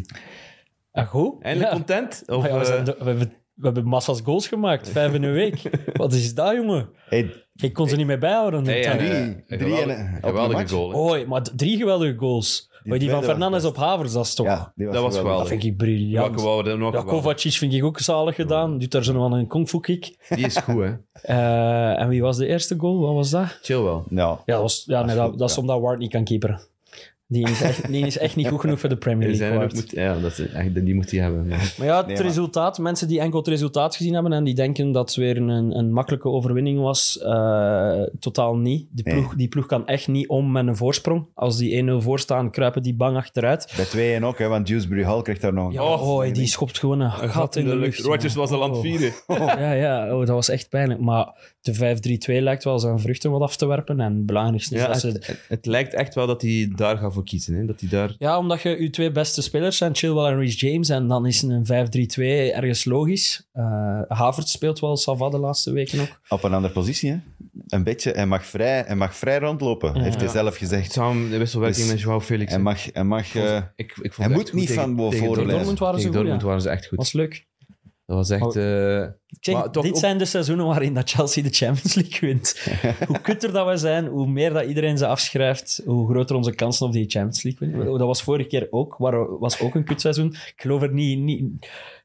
Speaker 4: Ah, goed.
Speaker 3: Eindelijk
Speaker 4: Ja.
Speaker 3: content? Of,
Speaker 4: Maar ja, we,
Speaker 3: eh,
Speaker 4: zijn do- we hebben, we hebben massa's goals gemaakt. Vijf in een week. Wat is dat, jongen?
Speaker 2: Hey,
Speaker 4: Ik kon ze niet meer bijhouden.
Speaker 3: nee, ja,
Speaker 4: Dat-
Speaker 2: drie-
Speaker 3: eh,
Speaker 2: drie
Speaker 3: een
Speaker 2: en een- op
Speaker 3: geweldige,
Speaker 2: een
Speaker 3: geweldige
Speaker 2: match.
Speaker 3: goal. hè.
Speaker 4: Oei, maar d- drie geweldige goals. Maar die van
Speaker 2: tweede was
Speaker 4: Fernandes
Speaker 2: best.
Speaker 4: op Havers, dat is toch...
Speaker 2: ja, die was
Speaker 3: Dat was
Speaker 2: geweldig.
Speaker 3: wel-
Speaker 4: Dat vind ik
Speaker 3: Welke
Speaker 4: briljant.
Speaker 3: wou er nog
Speaker 4: Oh, Ja,
Speaker 3: wel?
Speaker 4: Kovacic vind ik ook zalig gedaan. Doet daar zo nog wel een kung fu kick.
Speaker 3: Die is goed, hè.
Speaker 4: Eh, en wie was de eerste goal? Wat was dat?
Speaker 3: Chill wel.
Speaker 2: Ja,
Speaker 4: Ja, dat, was, ja, nee, dat,
Speaker 2: goed,
Speaker 4: dat is
Speaker 2: ja.
Speaker 4: omdat Ward niet kan keeperen. Die is echt, die is echt niet goed genoeg voor de Premier
Speaker 3: Er
Speaker 4: League.
Speaker 3: zijn er ook
Speaker 4: Ward.
Speaker 3: moet, ja, dat is, echt- die moet hij hebben. maar-
Speaker 4: Maar ja, het
Speaker 2: Nee, maar-
Speaker 4: resultaat, mensen die enkel het resultaat gezien hebben en die denken dat het weer een, een makkelijke overwinning was, eh, totaal niet. Die
Speaker 2: Nee.
Speaker 4: ploeg, die ploeg kan echt niet om met een voorsprong. Als die 1-0 voorstaan, kruipen die bang achteruit.
Speaker 2: bij twee en ook, hè, want Dewsbury Hall krijgt daar nog een
Speaker 4: Ja,
Speaker 2: kans.
Speaker 4: oh, die schopt gewoon een gat, in de lucht.
Speaker 3: Rodgers
Speaker 4: ja.
Speaker 3: was al aan het
Speaker 4: Oh.
Speaker 3: vieren.
Speaker 4: Ja, ja oh, dat was echt pijnlijk. Maar de 5-3-2 lijkt wel zijn vruchten wat af te werpen. En het belangrijkste is
Speaker 3: Ja,
Speaker 4: dat
Speaker 3: het,
Speaker 4: ze
Speaker 3: het- het lijkt echt wel dat hij daar gaat voor kiezen. Hè? Dat hij daar...
Speaker 4: Ja, omdat je je twee beste spelers zijn, Chilwell en Reece James, en dan is een 5-3-2 ergens logisch. Eh Havertz speelt wel Sava de laatste weken ook.
Speaker 2: Op een andere positie, hè. Een beetje. Hij mag vrij, hij mag vrij rondlopen, heeft hij
Speaker 4: Ja.
Speaker 2: zelf gezegd.
Speaker 3: Samen de wisselwerking
Speaker 2: Dus-
Speaker 3: met Joao Felix.
Speaker 2: Hij
Speaker 3: hè.
Speaker 2: mag... Hij mag
Speaker 3: Ik vond-
Speaker 2: eh,
Speaker 3: ik, ik vond
Speaker 2: hij
Speaker 3: het
Speaker 2: moet
Speaker 3: echt goed
Speaker 2: niet
Speaker 3: tegen-
Speaker 2: van boven
Speaker 3: tegen
Speaker 2: voorlezen.
Speaker 3: Dortmund.
Speaker 4: Dortmund waren ze
Speaker 3: Tegen
Speaker 4: goed, ja.
Speaker 3: Dortmund waren ze echt goed.
Speaker 4: was leuk.
Speaker 3: Dat was echt...
Speaker 4: Oh.
Speaker 3: eh,
Speaker 4: Ik zeg,
Speaker 3: Maar toch
Speaker 4: dit
Speaker 3: ook-
Speaker 4: zijn de seizoenen waarin dat Chelsea de Champions League wint. hoe kutter dat we zijn, hoe meer dat iedereen ze afschrijft, hoe groter onze kansen op die Champions League winnen. Dat was vorige keer ook, waar, was ook een kutseizoen. Ik geloof er niet, niet...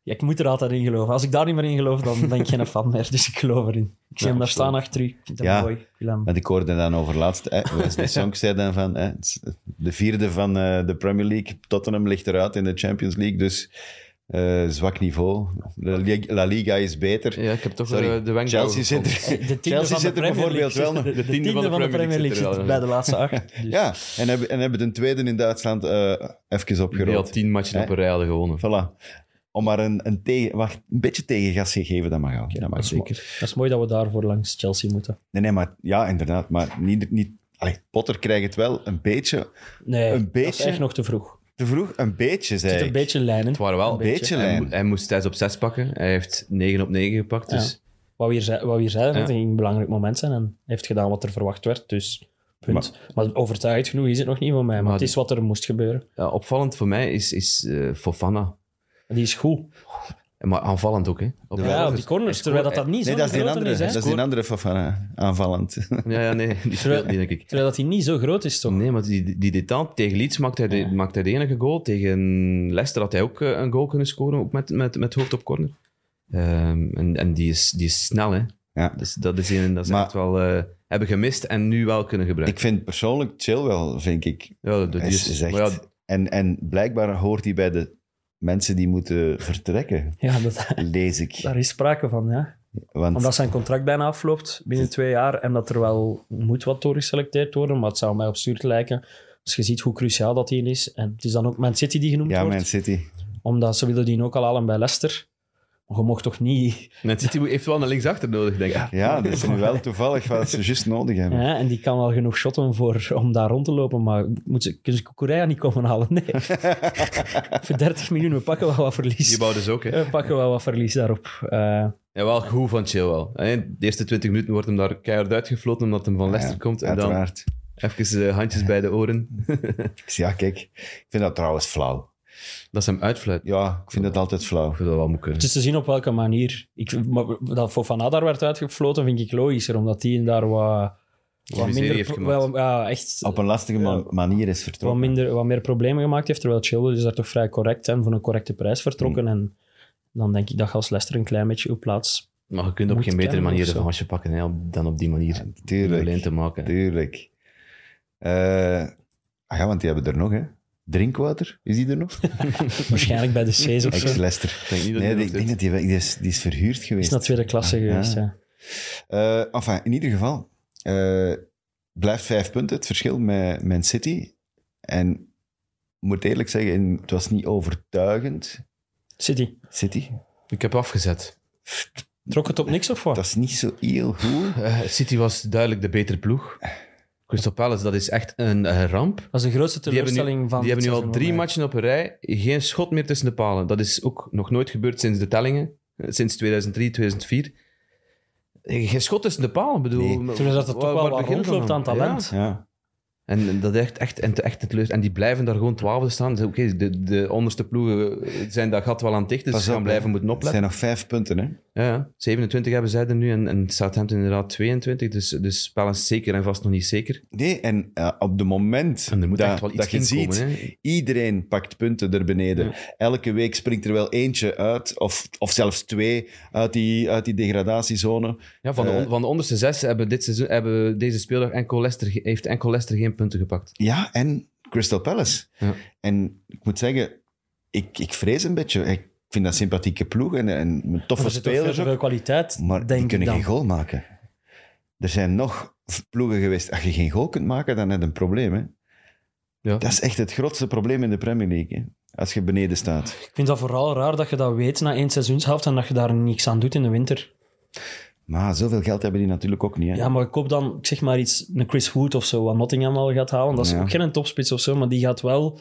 Speaker 4: Ja, ik moet er altijd in geloven. Als ik daar niet meer in geloof, dan ben ik geen fan meer. Dus ik geloof erin. Ik zie hem daar staan achter u. Ik vind dat
Speaker 2: Ja.
Speaker 4: mooi. Ik wil hem-
Speaker 2: Want ik hoorde dan over laatst, hè, Wesley Song zei dan van, hè, het is de vierde van eh, de Premier League, Tottenham ligt eruit in de Champions League, dus eh, zwak niveau. La Liga, La Liga is beter.
Speaker 3: ja, ik heb toch
Speaker 2: Sorry,
Speaker 3: eh, de wenkbrauw
Speaker 2: Chelsea
Speaker 3: gevonden.
Speaker 2: zit er,
Speaker 4: Eh, De tiende
Speaker 2: Chelsea
Speaker 4: van de
Speaker 2: zit er
Speaker 4: Premier
Speaker 2: bijvoorbeeld
Speaker 4: League
Speaker 2: wel nog.
Speaker 4: zit- De,
Speaker 3: De tiende
Speaker 4: tiende van de, Premier League
Speaker 3: zit er
Speaker 4: zit
Speaker 3: wel
Speaker 4: bij de laatste acht. Dus-
Speaker 2: Ja, en hebben, en hebben de tweede in Duitsland eh even
Speaker 3: Die
Speaker 2: opgerold.
Speaker 3: had tien matchen op een rij hadden gewonnen.
Speaker 2: Voilà. Om maar een, een, tegen, wacht, een beetje tegengas te geven, dat mag ook. dat mag
Speaker 4: dat, is mo-
Speaker 2: zeker.
Speaker 4: dat is mooi dat we daarvoor langs Chelsea moeten.
Speaker 2: Nee, nee, maar ja, inderdaad. Maar niet, niet, allee, Potter krijgt het wel een beetje
Speaker 4: Nee,
Speaker 2: Een
Speaker 4: dat is
Speaker 2: beetje?
Speaker 4: echt nog te vroeg.
Speaker 2: te vroeg. Een beetje,
Speaker 4: Het
Speaker 2: zei
Speaker 4: zit
Speaker 2: ik.
Speaker 4: een beetje lijnend.
Speaker 3: Het waren wel...
Speaker 4: Een
Speaker 2: beetje,
Speaker 4: beetje.
Speaker 3: Hij,
Speaker 2: lijn.
Speaker 3: mo- hij moest thuis op zes pakken. Hij heeft 9 op 9 gepakt.
Speaker 4: Ja.
Speaker 3: Dus
Speaker 4: Wat we hier, zei- wat we hier zeiden,
Speaker 3: Ja.
Speaker 4: dat ging een belangrijk moment zijn en hij heeft gedaan wat er verwacht werd. Dus punt. Maar, overtuigd genoeg is het nog niet van mij, maar,
Speaker 3: Maar
Speaker 4: het
Speaker 3: die-
Speaker 4: is wat er moest gebeuren.
Speaker 3: ja, eh, opvallend voor mij is, is eh, Fofana.
Speaker 4: Die is goed.
Speaker 3: Maar aanvallend ook, hè? Op-
Speaker 4: Ja, op die corners, terwijl dat, dat niet zo
Speaker 2: Nee, dat is die
Speaker 4: groot
Speaker 2: andere.
Speaker 4: is. Hè?
Speaker 2: dat is die andere Fofana, aanvallend.
Speaker 3: Ja, ja, nee, die speelt niet, denk ik.
Speaker 4: Terwijl dat hij niet zo groot is, toch?
Speaker 3: Nee, maar die, die Detant tegen Leeds maakt hij, de,
Speaker 4: Ja.
Speaker 3: maakt hij de enige goal. Tegen Leicester had hij ook eh, een goal kunnen scoren, ook met, met, met hoofd op corner. Ehm, en en die, is, die is snel, hè.
Speaker 2: Ja.
Speaker 3: Dus dat is een dat ze
Speaker 2: Maar-
Speaker 3: echt wel eh, hebben gemist en nu wel kunnen gebruiken.
Speaker 2: Ik vind persoonlijk chill wel, vind ik.
Speaker 3: ja, dat- dat
Speaker 2: Hij
Speaker 3: die is,
Speaker 2: is, is echt-
Speaker 3: maar ja,
Speaker 2: en, en blijkbaar hoort hij bij de mensen die moeten vertrekken,
Speaker 4: Ja, dat,
Speaker 2: lees ik.
Speaker 4: daar is sprake van, ja.
Speaker 2: Want
Speaker 4: Omdat zijn contract bijna afloopt binnen twee jaar en dat er wel moet wat doorgeselecteerd worden, maar het zou mij absurd lijken. Dus je ziet hoe cruciaal dat hij is. En het is dan ook Man City die genoemd
Speaker 2: ja,
Speaker 4: wordt,
Speaker 2: Man City.
Speaker 4: omdat ze willen die ook al halen bij Leicester. Maar je mocht toch niet...
Speaker 3: Man City heeft wel een linksachter nodig, denk ik.
Speaker 2: Ja, dat is nu wel toevallig wat ze juist nodig hebben.
Speaker 4: Hè? En die kan wel genoeg shotten voor, om daar rond te lopen, maar moet ze, kunnen ze Korea niet komen halen? Nee. voor 30 miljoen, we pakken wel wat
Speaker 3: Die
Speaker 4: verlies.
Speaker 3: bouwt dus ook, hè.
Speaker 4: We pakken wel wat verlies daarop. Eh,
Speaker 3: Ja, wel goed van Chilwell. hè. De eerste 20 minuten wordt hem daar keihard uitgefloten omdat hem van Leicester
Speaker 2: Ja,
Speaker 3: komt. En dan
Speaker 2: Uiteraard.
Speaker 3: even eh, handjes bij de oren.
Speaker 2: Ik zeg, Ja, kijk, ik vind dat trouwens flauw.
Speaker 3: Dat ze hem uitfluit.
Speaker 2: Ja, ik vind dat altijd flauw.
Speaker 3: Ik vind dat wel moet kunnen.
Speaker 4: het is te zien op welke manier. Ik, maar dat Fofana daar werd uitgefloten, vind ik logischer, omdat die daar wat... wat
Speaker 3: miserie
Speaker 4: minder
Speaker 3: heeft
Speaker 4: pro-
Speaker 3: gemaakt.
Speaker 4: wel, ja, echt
Speaker 2: Op een lastige ma- manier is
Speaker 4: wat,
Speaker 2: vertrokken.
Speaker 4: minder, wat meer problemen gemaakt heeft. Terwijl Chilwell is daar toch
Speaker 2: Mm.
Speaker 4: vrij correct en voor een correcte prijs vertrokken. En dan denk ik dat je als Leicester een klein beetje op plaats
Speaker 3: Maar je kunt op
Speaker 4: Moet
Speaker 3: geen betere
Speaker 4: kennen of
Speaker 3: manier
Speaker 4: zo.
Speaker 3: de vansje pakken hè, op- dan op die manier alleen te
Speaker 2: Tuurlijk.
Speaker 3: maken.
Speaker 2: Tuurlijk. Eh, ah ja, want die hebben er nog, hè. Drinkwater, is die er nog?
Speaker 4: Waarschijnlijk bij de C's of zo.
Speaker 2: Ex-Lester.
Speaker 3: Ik denk niet dat
Speaker 2: Nee,
Speaker 3: die
Speaker 2: die-
Speaker 3: nog
Speaker 2: ik denk dat die, die, is, die is verhuurd
Speaker 4: Is
Speaker 2: geweest. Ah,
Speaker 4: naar tweede klasse geweest,
Speaker 2: ja.
Speaker 4: ja.
Speaker 2: Eh, enfin, in ieder geval, eh, blijft vijf punten het verschil met Man City. En ik moet eerlijk zeggen, in- het was niet overtuigend,
Speaker 4: City,
Speaker 2: City.
Speaker 3: Ik heb afgezet.
Speaker 4: trok het op niks of wat?
Speaker 2: Dat is niet zo heel goed.
Speaker 3: Eh, City was duidelijk de betere ploeg. Crystal Palace, dat is echt een eh, ramp.
Speaker 4: Dat is de grootste
Speaker 3: Die hebben nu-
Speaker 4: teleurstelling van
Speaker 3: die
Speaker 4: dit
Speaker 3: hebben nu al
Speaker 4: seizoen
Speaker 3: drie
Speaker 4: voor mij.
Speaker 3: matchen op een rij. Geen schot meer tussen de palen. Dat is ook nog nooit gebeurd sinds de tellingen. eh, Sinds 2003, 2004. Eh, Geen schot tussen de palen, bedoel.
Speaker 2: Nee.
Speaker 4: Terwijl dat er toch wel wat
Speaker 3: beginnen we
Speaker 4: rondloopt
Speaker 3: dan?
Speaker 4: aan talent.
Speaker 3: Ja.
Speaker 2: Ja.
Speaker 3: En dat is echt, echt, en te- echt het leus. En die blijven daar gewoon twaalfde staan. Dus Oké, de, de onderste ploegen zijn dat gat wel aan het dichten. Dus
Speaker 2: Pas
Speaker 3: ze
Speaker 2: op,
Speaker 3: gaan blijven
Speaker 2: hè.
Speaker 3: moeten
Speaker 2: Het
Speaker 3: opletten.
Speaker 2: zijn nog vijf punten, hè.
Speaker 3: Ja, Ja, 27 hebben zij er nu en, en Southampton inderdaad 22. Dus, dus Palace zeker en vast nog niet zeker.
Speaker 2: Nee, en eh, op het moment
Speaker 3: En er moet
Speaker 2: dat,
Speaker 3: echt wel iets
Speaker 2: dat je
Speaker 3: in
Speaker 2: ziet,
Speaker 3: komen, hè.
Speaker 2: iedereen pakt punten er beneden. Elke week springt er wel eentje uit, of, of zelfs twee, uit die, uit die degradatiezone.
Speaker 3: Ja, van, de,
Speaker 2: Eh.
Speaker 3: on- van de onderste zes hebben, dit seizoen, hebben deze speeldag enkel Leicester, ge- heeft enkel Leicester geen punten gepakt.
Speaker 2: Ja, en Crystal Palace.
Speaker 3: Ja.
Speaker 2: En ik moet zeggen, ik, ik vrees een beetje. Ik vind dat sympathieke ploeg en, en
Speaker 4: Maar
Speaker 2: toffe
Speaker 4: er zit ook veel
Speaker 2: spelers
Speaker 4: te
Speaker 2: ook.
Speaker 4: veel kwaliteit,
Speaker 2: Maar die
Speaker 4: denk ik
Speaker 2: kunnen
Speaker 4: dan.
Speaker 2: geen goal maken. Er zijn nog ploegen geweest. Als je geen goal kunt maken, dan heb je een probleem. Hè?
Speaker 3: Ja.
Speaker 2: Dat is echt het grootste probleem in de Premier League. Hè? Als je beneden staat.
Speaker 4: Ik vind dat vooral raar dat je dat weet na één seizoenshelft en dat je daar niks aan doet in de winter.
Speaker 2: Maar zoveel geld hebben die natuurlijk ook niet. Hè?
Speaker 4: Ja, maar ik koop dan, ik zeg maar iets, een Chris Wood of zo, wat Nottingham al gaat halen. Dat is
Speaker 2: Ja.
Speaker 4: ook geen topspits of zo, maar die gaat wel...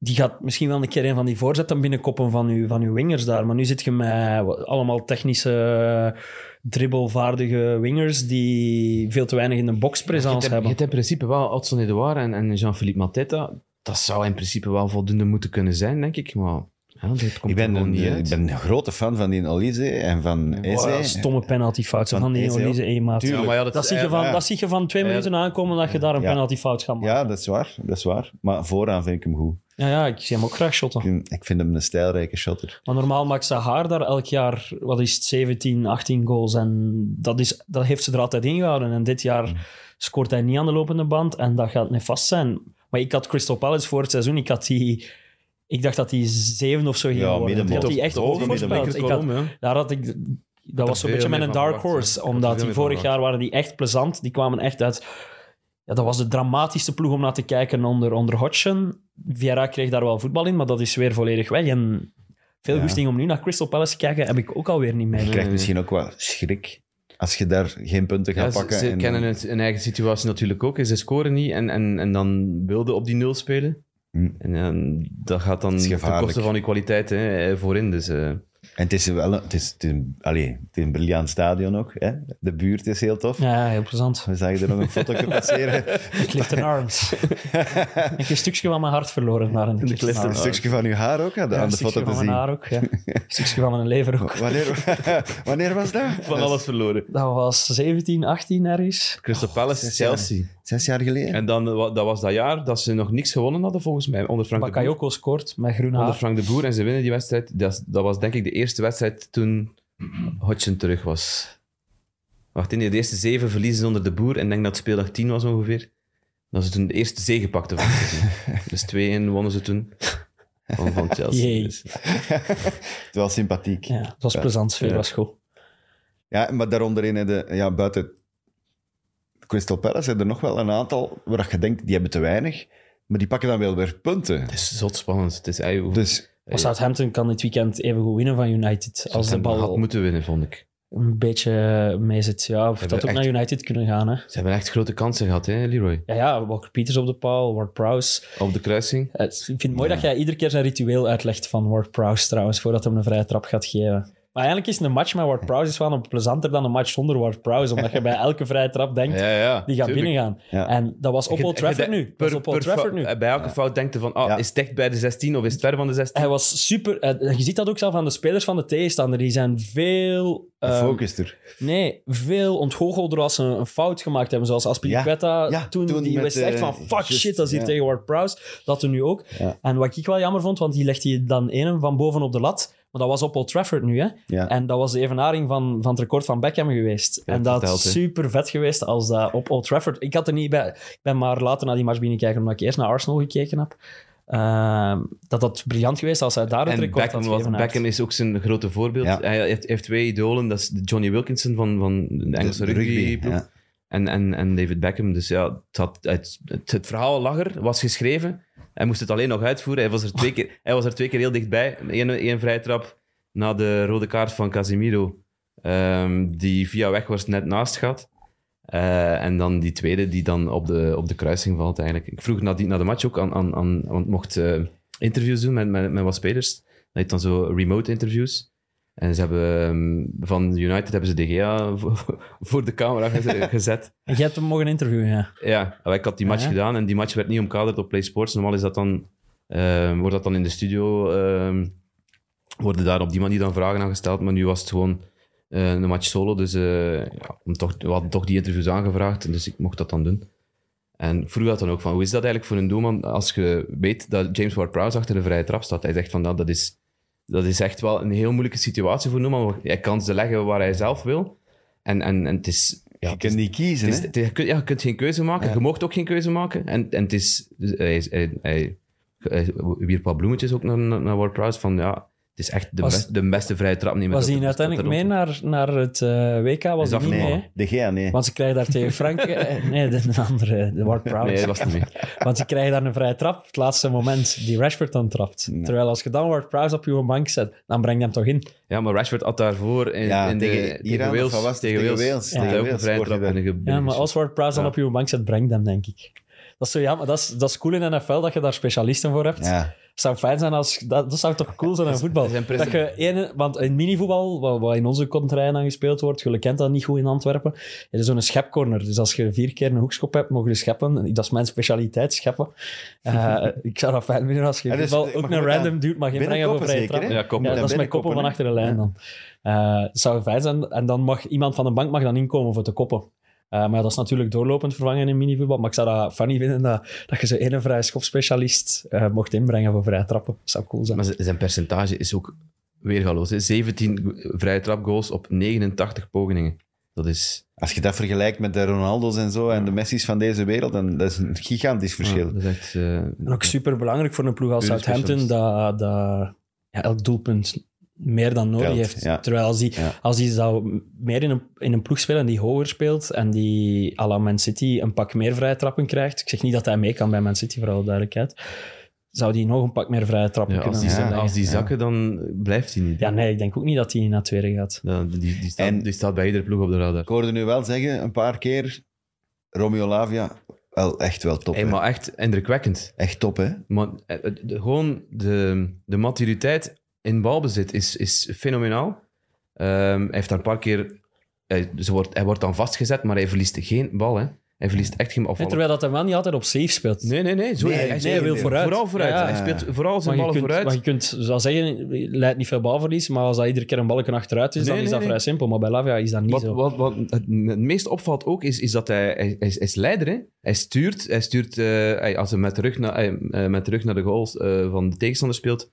Speaker 4: Die gaat misschien wel een keer een van die voorzetten binnenkoppen van uw, van uw wingers daar. Maar nu zit je met wat- allemaal technische, dribbelvaardige wingers die veel te weinig in de
Speaker 3: Je
Speaker 4: boxpresence
Speaker 3: hebt, je
Speaker 4: hebben.
Speaker 3: hebt in principe wel Adson Edouard en, en Jean-Philippe Mateta. Dat zou in principe wel voldoende moeten kunnen zijn, denk ik. Maar ja, dat komt
Speaker 2: ik, ben
Speaker 3: er gewoon
Speaker 2: een, eh,
Speaker 3: niet uit.
Speaker 2: ik ben een grote fan van die Olise en van Eze.
Speaker 4: Oh, stomme penaltyfouten
Speaker 2: Van
Speaker 4: van die
Speaker 2: Eze ook.
Speaker 4: Olise Emaat.
Speaker 2: Tuurlijk.
Speaker 3: ja,
Speaker 4: Dat
Speaker 3: is
Speaker 4: zie, je
Speaker 3: eigenlijk-
Speaker 4: van,
Speaker 2: ja.
Speaker 4: dat zie je van twee
Speaker 3: Ja.
Speaker 4: minuten aankomen dat je daar een
Speaker 2: Ja.
Speaker 4: penaltyfout gaat maken.
Speaker 2: Ja, dat is waar. Dat is waar. Maar vooraan vind ik hem goed.
Speaker 4: Ja, ja, ik zie hem ook graag shotten.
Speaker 2: Ik vind- ik vind hem een stijlrijke shotter.
Speaker 4: Maar normaal maakt ze haar daar elk jaar, wat is het, 17, 18 goals. En dat, is, dat heeft ze er altijd in gehouden. En dit jaar scoort hij niet aan de lopende band. En dat gaat niet vast zijn. Maar ik had Crystal Palace voor het seizoen. Ik, had die, ik dacht dat die zeven of zo ging
Speaker 2: Ja,
Speaker 4: worden. Ik
Speaker 2: middenmoot.
Speaker 4: had die echt
Speaker 2: Toch,
Speaker 4: hoog
Speaker 2: middenmoot.
Speaker 4: voorspeld. Ik had,
Speaker 3: Kolom, ja.
Speaker 4: daar had ik... Dat was zo'n
Speaker 3: veel
Speaker 4: beetje
Speaker 3: meer
Speaker 4: mijn
Speaker 3: van
Speaker 4: dark
Speaker 3: verwacht,
Speaker 4: horse.
Speaker 3: hè. Ik had er
Speaker 4: Omdat
Speaker 3: veel
Speaker 4: die
Speaker 3: meer van
Speaker 4: vorig jaar
Speaker 3: verwacht.
Speaker 4: waren die echt plezant. Die kwamen echt uit... Ja, dat was de dramatischste ploeg om naar te kijken onder, onder Hodgson. Vieira kreeg daar wel voetbal in, maar dat is weer volledig weg. En veel
Speaker 2: Ja.
Speaker 4: goesting om nu naar Crystal Palace te kijken, heb ik ook alweer niet
Speaker 2: Je
Speaker 4: meer.
Speaker 2: krijgt misschien ook wel schrik als je daar geen punten gaat
Speaker 3: Ja, ze-
Speaker 2: pakken.
Speaker 3: Ze
Speaker 2: en-
Speaker 3: kennen het, hun eigen situatie natuurlijk ook. Ze scoren niet en, en, en dan wilden op die nul spelen.
Speaker 2: Hmm.
Speaker 3: En eh, dat gaat dan
Speaker 2: is
Speaker 3: ten
Speaker 2: gevaarlijk.
Speaker 3: koste van je kwaliteit hè, eh, voorin. Dus, eh,
Speaker 2: En het is wel een, het is, het is een, allee, het is een briljant stadion ook. Hè? De buurt is heel tof.
Speaker 4: Ja, heel plezant.
Speaker 2: We zagen er nog een foto passeren.
Speaker 4: Clifton Arms. ik heb een stukje van mijn hart verloren daar in de Clifton
Speaker 2: Ah, Een
Speaker 4: Arms.
Speaker 2: stukje van uw haar ook aan de,
Speaker 4: Ja,
Speaker 2: aan
Speaker 4: een
Speaker 2: de
Speaker 4: stukje
Speaker 2: foto te
Speaker 4: van mijn
Speaker 2: zien.
Speaker 4: haar ook, ja. Een stukje van mijn lever ook.
Speaker 2: Wanneer, wanneer was dat?
Speaker 3: van alles verloren.
Speaker 4: Dat was 17, 18 ergens.
Speaker 3: Crystal Palace,
Speaker 2: zes jaar.
Speaker 3: Chelsea.
Speaker 2: Zes jaar geleden.
Speaker 3: En dan, eh, wa- dat was dat jaar dat ze nog niks gewonnen hadden volgens mij. Onder Frank, de Boer.
Speaker 4: Bakayoko scoort met groen
Speaker 3: onder
Speaker 4: haar.
Speaker 3: Frank de Boer. En ze winnen die wedstrijd. Dat, is- dat was denk ik de eerste wedstrijd toen Hodgson terug was. Wacht, in de eerste zeven verliezen ze onder de Boer. En ik denk dat het speeldag 10 was ongeveer. Dat ze toen de eerste zege pakten van het seizoen. Dus 2-1 wonnen ze toen. Van, van Chelsea.
Speaker 4: Jee.
Speaker 3: Dus-
Speaker 2: Het was sympathiek.
Speaker 4: Ja,
Speaker 2: Ja.
Speaker 4: dat was plezant. Veel
Speaker 3: Ja.
Speaker 4: was goed.
Speaker 2: maar daaronder in de, ja, buiten Crystal Palace zijn er nog wel een aantal waar je denkt, die hebben te weinig. Maar die pakken dan wel weer punten.
Speaker 3: Het is zot spannend. Het is eigenlijk hoe-
Speaker 2: Dus
Speaker 4: Maar Southampton kan dit weekend even goed winnen van United. Als de
Speaker 3: Southampton
Speaker 4: bal
Speaker 3: had moeten winnen, vond ik.
Speaker 4: een beetje mee zit. Ja, of dat ook
Speaker 3: echt-
Speaker 4: naar United kunnen gaan. Hè.
Speaker 3: Ze hebben echt grote kansen gehad, hè, Leroy?
Speaker 4: Ja, ja, Walker Peters op de paal, Ward Prowse.
Speaker 3: Op de kruising.
Speaker 4: Eh, Ik vind het mooi dat jij iedere keer zijn ritueel uitlegt van Ward Prowse trouwens, voordat hij hem een vrije trap gaat geven. Maar eigenlijk is een match met Ward Prowse is wel een plezanter dan een match zonder Ward Prowse, omdat je bij elke vrije trap denkt,
Speaker 3: ja.
Speaker 4: die gaat binnengaan.
Speaker 2: Ja.
Speaker 4: En dat was op
Speaker 3: Je-
Speaker 4: Old
Speaker 3: je-
Speaker 4: Trafford
Speaker 3: je-
Speaker 4: nu. Dat is op Old Trafford
Speaker 3: fout-
Speaker 4: nu.
Speaker 3: Bij elke fout denkt je van, ah,
Speaker 2: Ja.
Speaker 3: is het dicht bij de 16 of is het ver van de 16?
Speaker 4: Hij was super... eh, Je ziet dat ook zelf aan de spelers van de tegenstander. Die zijn veel... eh,
Speaker 2: focus er.
Speaker 4: Nee, veel ontgoochelder als ze een fout gemaakt hebben. Zoals Aspilicueta
Speaker 2: Ja, ja,
Speaker 4: toen,
Speaker 2: toen
Speaker 4: die
Speaker 2: met,
Speaker 4: wist echt van
Speaker 2: eh,
Speaker 4: fuck
Speaker 2: juist,
Speaker 4: shit, dat is hier
Speaker 2: ja.
Speaker 4: tegen Ward Prowse. Dat toen nu ook.
Speaker 2: Ja.
Speaker 4: En wat ik wel jammer vond, want die legt hij dan één van boven op de lat. Maar dat was op Old Trafford nu, hè.
Speaker 2: Ja.
Speaker 4: En dat was de evenaring van, van het record van Beckham geweest.
Speaker 3: Ja,
Speaker 4: en dat
Speaker 3: verteld, hè.
Speaker 4: is super vet geweest als dat op Old Trafford. Ik had er niet bij. Ik ben maar later naar die match binnenkijken, omdat ik eerst naar Arsenal gekeken heb. Ehm, dat dat briljant geweest als hij daar het
Speaker 3: En
Speaker 4: record
Speaker 3: Beckham,
Speaker 4: had
Speaker 3: was-
Speaker 4: geëvenaard.
Speaker 3: Beckham is ook zijn grote voorbeeld.
Speaker 2: Ja.
Speaker 3: Hij heeft, heeft twee idolen. Dat is Johnny Wilkinson van, van de Engelse
Speaker 2: De
Speaker 3: rugby.
Speaker 2: ja.
Speaker 3: en, en, en David Beckham. Dus ja, het, had, het, het, het verhaal lag er, was geschreven. Hij moest het alleen nog uitvoeren. Hij was er twee keer, hij was er twee keer heel dichtbij. Eén, één vrije trap na de rode kaart van Casimiro. ehm, die via weg was net naast gaat. Eh, en dan die tweede die dan op de, op de kruising valt eigenlijk. Ik vroeg na, die, na de match ook aan... aan, aan want ik mocht eh, interviews doen met, met, met wat spelers. Dat heet dan zo remote interviews. En ze hebben ehm, van United hebben ze De Gea voor, voor de camera geze- gezet.
Speaker 4: En jij hebt hem mogen interviewen, ja.
Speaker 3: Ja, maar ik had die match
Speaker 4: Ja.
Speaker 3: gedaan en die match werd niet omkaderd op Play Sports. Normaal is dat dan, ehm, wordt dat dan in de studio, ehm, worden daar op die manier dan vragen aan gesteld. Maar nu was het gewoon eh, een match solo, dus eh, ja, om toch, we hadden toch die interviews aangevraagd, dus ik mocht dat dan doen. En ik vroeg dat dan ook van, hoe is dat eigenlijk voor een doelman als je weet dat James Ward-Prowse achter de vrije trap staat? Hij zegt van, nou, dat is, dat is echt wel een heel moeilijke situatie voor een doelman. want Hij kan ze leggen waar hij zelf wil. En, en, en het is... Ja,
Speaker 2: Je
Speaker 3: het is-
Speaker 2: kunt niet kiezen,
Speaker 3: het is-
Speaker 2: hè?
Speaker 3: het is- je, kunt, ja, je kunt geen keuze maken. Je mocht ook geen keuze maken. En, en het is... dus hij, is- hij, hij, hij wierp wat bloemetjes ook naar, naar naar Ward Prowse van ja, het is echt de,
Speaker 4: Was-
Speaker 3: best- de beste vrije trap. Niet
Speaker 4: Was hij uiteindelijk mee naar, naar het eh, WK? Was hij
Speaker 3: dat
Speaker 4: niet mee,
Speaker 3: verloren?
Speaker 4: hè?
Speaker 2: De Gea, nee.
Speaker 4: Want ze krijgen daar tegen Frankrijk... nee, de, de andere, de Ward Prowse.
Speaker 3: Nee, hij was niet mee.
Speaker 4: Want ze krijgen daar een vrije trap op het laatste moment die Rashford dan trapt. Terwijl als je dan Ward Prowse op je bank zet, dan breng je hem toch in.
Speaker 3: Ja, maar Rashford had daarvoor in,
Speaker 2: Ja,
Speaker 3: in de,
Speaker 2: tegen
Speaker 3: tegen,
Speaker 2: Iran of
Speaker 3: Wales,
Speaker 2: wat was het?
Speaker 3: tegen
Speaker 2: Tegen
Speaker 3: Wales.
Speaker 2: Wales,
Speaker 3: Ja,
Speaker 2: tegen
Speaker 3: ook een
Speaker 2: Wales
Speaker 3: vrije trap
Speaker 2: scoorde
Speaker 3: en een gebeurde.
Speaker 4: Ja, maar als Ward Prowse
Speaker 3: Ja.
Speaker 4: dan op je bank zet, breng hem, denk ik. Dat is zo jammer. Dat is, dat is cool in NFL dat je daar specialisten voor hebt.
Speaker 2: Ja.
Speaker 4: Het zou fijn zijn als... Dat, dat zou toch cool zijn aan voetbal?
Speaker 3: dat zijn
Speaker 4: Dat je ene, want in minivoetbal, wat, wat in onze contraien dan gespeeld wordt, jullie kent dat niet goed in Antwerpen, er is zo'n schepcorner. Dus als je vier keer een hoekschop hebt, mogen je scheppen. Dat is mijn specialiteit, scheppen. Eh, ik zou dat fijn vinden als je
Speaker 2: Ja,
Speaker 4: in
Speaker 2: dus-
Speaker 4: voetbal
Speaker 2: maar
Speaker 4: ook
Speaker 2: je
Speaker 4: een
Speaker 2: moet
Speaker 4: random
Speaker 2: aan
Speaker 4: dude mag inbrengen voor
Speaker 2: binnenkoppen
Speaker 4: vrije
Speaker 2: zeker,
Speaker 4: trap.
Speaker 2: hè?
Speaker 3: Ja, kom.
Speaker 4: Ja,
Speaker 2: Ja,
Speaker 4: dat is mijn koppen van
Speaker 2: binnenkoppen,
Speaker 4: achter de lijn dan. Eh, Het zou fijn zijn. En dan mag iemand van de bank mag dan inkomen voor te koppen. Eh, maar ja, dat is natuurlijk doorlopend vervangen in minivoetbal. Maar ik zou dat funny vinden dat, dat je zo'n ene vrije schopspecialist eh, mocht inbrengen voor vrije trappen. Dat zou cool zijn.
Speaker 3: Maar z- zijn percentage is ook weergaloos. hè. 17 go- vrije trapgoals op 89 pogingen. Dat is...
Speaker 2: Als je dat vergelijkt met de Ronaldo's en zo en de Messi's van deze wereld, dan dat is een gigantisch verschil.
Speaker 3: Ja, dat is echt... eh,
Speaker 4: En ook super belangrijk voor een ploeg als
Speaker 3: Pure
Speaker 4: Southampton dat, dat ja, elk doelpunt meer dan nodig
Speaker 2: Telt,
Speaker 4: heeft.
Speaker 2: ja.
Speaker 4: Terwijl als die,
Speaker 2: Ja.
Speaker 4: als die zou meer in een, in een ploeg spelen en die hoger speelt en die à la Man City een pak meer vrije trappen krijgt. Ik zeg niet dat hij mee kan bij Man City, voor alle duidelijkheid. Zou die nog een pak meer vrije trappen
Speaker 3: ja, als,
Speaker 4: kunnen
Speaker 3: die,
Speaker 2: Ja,
Speaker 3: zak-
Speaker 4: inleggen?
Speaker 3: als die zakken, dan blijft hij niet.
Speaker 4: Ja, nee, ik denk ook niet dat hij naar tweede gaat.
Speaker 3: Ja, die, die, staat,
Speaker 2: En-
Speaker 3: die staat bij iedere ploeg op de radar.
Speaker 2: Ik hoorde nu wel zeggen, een paar keer, Romeo Lavia, wel echt wel top.
Speaker 3: Hey,
Speaker 2: hè.
Speaker 3: maar echt indrukwekkend.
Speaker 2: Echt top, hè?
Speaker 3: Maar eh, eh, de- gewoon de, de maturiteit in balbezit is, is fenomenaal. Ehm, hij heeft daar een paar keer... Hij, ze wordt, hij wordt dan vastgezet, maar hij verliest geen bal. Hè. Hij verliest echt geen bal.
Speaker 4: En terwijl dat hij wel niet altijd op safe speelt.
Speaker 3: Nee, nee, nee. Zo,
Speaker 2: Nee,
Speaker 3: hij, hij
Speaker 2: nee,
Speaker 3: speelt
Speaker 2: hij wil
Speaker 4: vooruit.
Speaker 3: Vooral vooruit.
Speaker 4: Ja.
Speaker 3: Hij speelt vooral zijn
Speaker 4: maar je,
Speaker 3: ballen
Speaker 4: kunt,
Speaker 3: vooruit.
Speaker 4: maar je kunt, zoals zeggen, leidt niet veel balverlies, maar als dat iedere keer een balken achteruit is,
Speaker 3: Nee,
Speaker 4: dan is
Speaker 3: nee,
Speaker 4: dat
Speaker 3: nee.
Speaker 4: vrij simpel. Maar bij Lavia is dat niet
Speaker 3: Wat,
Speaker 4: zo.
Speaker 3: wat, wat het het meest opvalt ook, is, is dat hij, hij, hij is, hij is leider hè? Hij stuurt, hij stuurt eh, hij- als hij met de rug, naar hij, eh, met de, rug naar de goals eh, van de tegenstander speelt,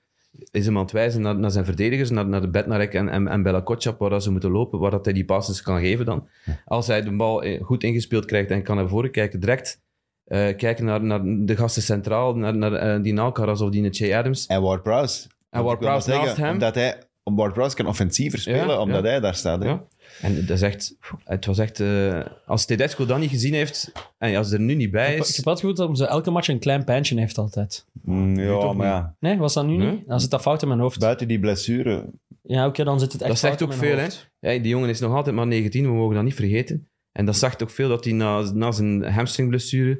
Speaker 3: is hem aan het wijzen naar, naar zijn verdedigers, naar, naar de Bednarek en, en, en Bella Kotschap, waar dat ze moeten lopen, waar dat hij die passes kan geven dan. Als hij de bal eh, goed ingespeeld krijgt en kan naar voren kijken, direct eh, kijken naar, naar de gasten centraal, naar, naar eh, die Nalcaraz of die Nechey Adams.
Speaker 2: En Ward Prowse.
Speaker 3: En
Speaker 2: Want ik wil
Speaker 3: Ward-Prowse
Speaker 2: wel
Speaker 3: naast hem.
Speaker 2: Omdat hij, Ward Prowse kan offensiever spelen,
Speaker 3: Ja,
Speaker 2: omdat hij daar staat. Hè?
Speaker 3: Ja. En dat is echt, het was echt, eh, als Tedesco dat niet gezien heeft, en als hij er nu niet bij
Speaker 4: Ik
Speaker 3: is...
Speaker 4: heb wel het gevoel dat ze elke match een klein pijntje heeft altijd.
Speaker 2: Mm, ja, maar ja.
Speaker 4: Nee, was dat nu
Speaker 3: Nee.
Speaker 4: niet? Dan zit dat fout in mijn hoofd.
Speaker 2: Buiten die blessure.
Speaker 4: Ja, oké, dan zit het echt
Speaker 3: Dat
Speaker 4: fout
Speaker 3: zegt
Speaker 4: in
Speaker 3: ook
Speaker 4: mijn
Speaker 3: veel, hè?
Speaker 4: hoofd.
Speaker 3: Ja, die jongen is nog altijd maar 19, we mogen dat niet vergeten. En dat zegt ook veel dat hij na, na zijn hamstringblessure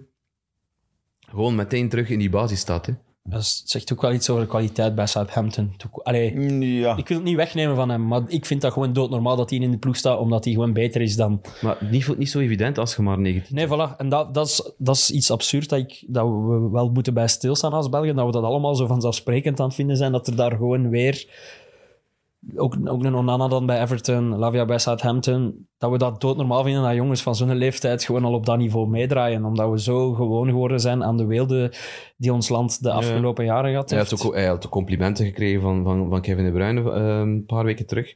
Speaker 3: gewoon meteen terug in die basis staat. Hè?
Speaker 4: Dat is- zegt ook wel iets over de kwaliteit bij Southampton. Toe- Allee,
Speaker 2: Mm, ja.
Speaker 4: ik wil het niet wegnemen van hem, maar ik vind dat gewoon doodnormaal dat hij in de ploeg staat, omdat hij gewoon beter is dan...
Speaker 3: Maar niet, vo- niet zo evident als je maar 19
Speaker 4: Nee, voilà. En dat, dat, is, dat is iets absurd dat, ik, dat we wel moeten bij stilstaan als Belgen. Dat we dat allemaal zo vanzelfsprekend aan het vinden zijn. Dat er daar gewoon weer ook, ook een Onana dan bij Everton, Lavia bij Southampton, dat we dat doodnormaal vinden dat jongens van zo'n leeftijd gewoon al op dat niveau meedraaien. Omdat we zo gewoon geworden zijn aan de weelde die ons land de afgelopen jaren gehad
Speaker 3: Hij
Speaker 4: heeft.
Speaker 3: had ook hij had ook complimenten gekregen van, van, van Kevin De Bruyne eh, een paar weken terug.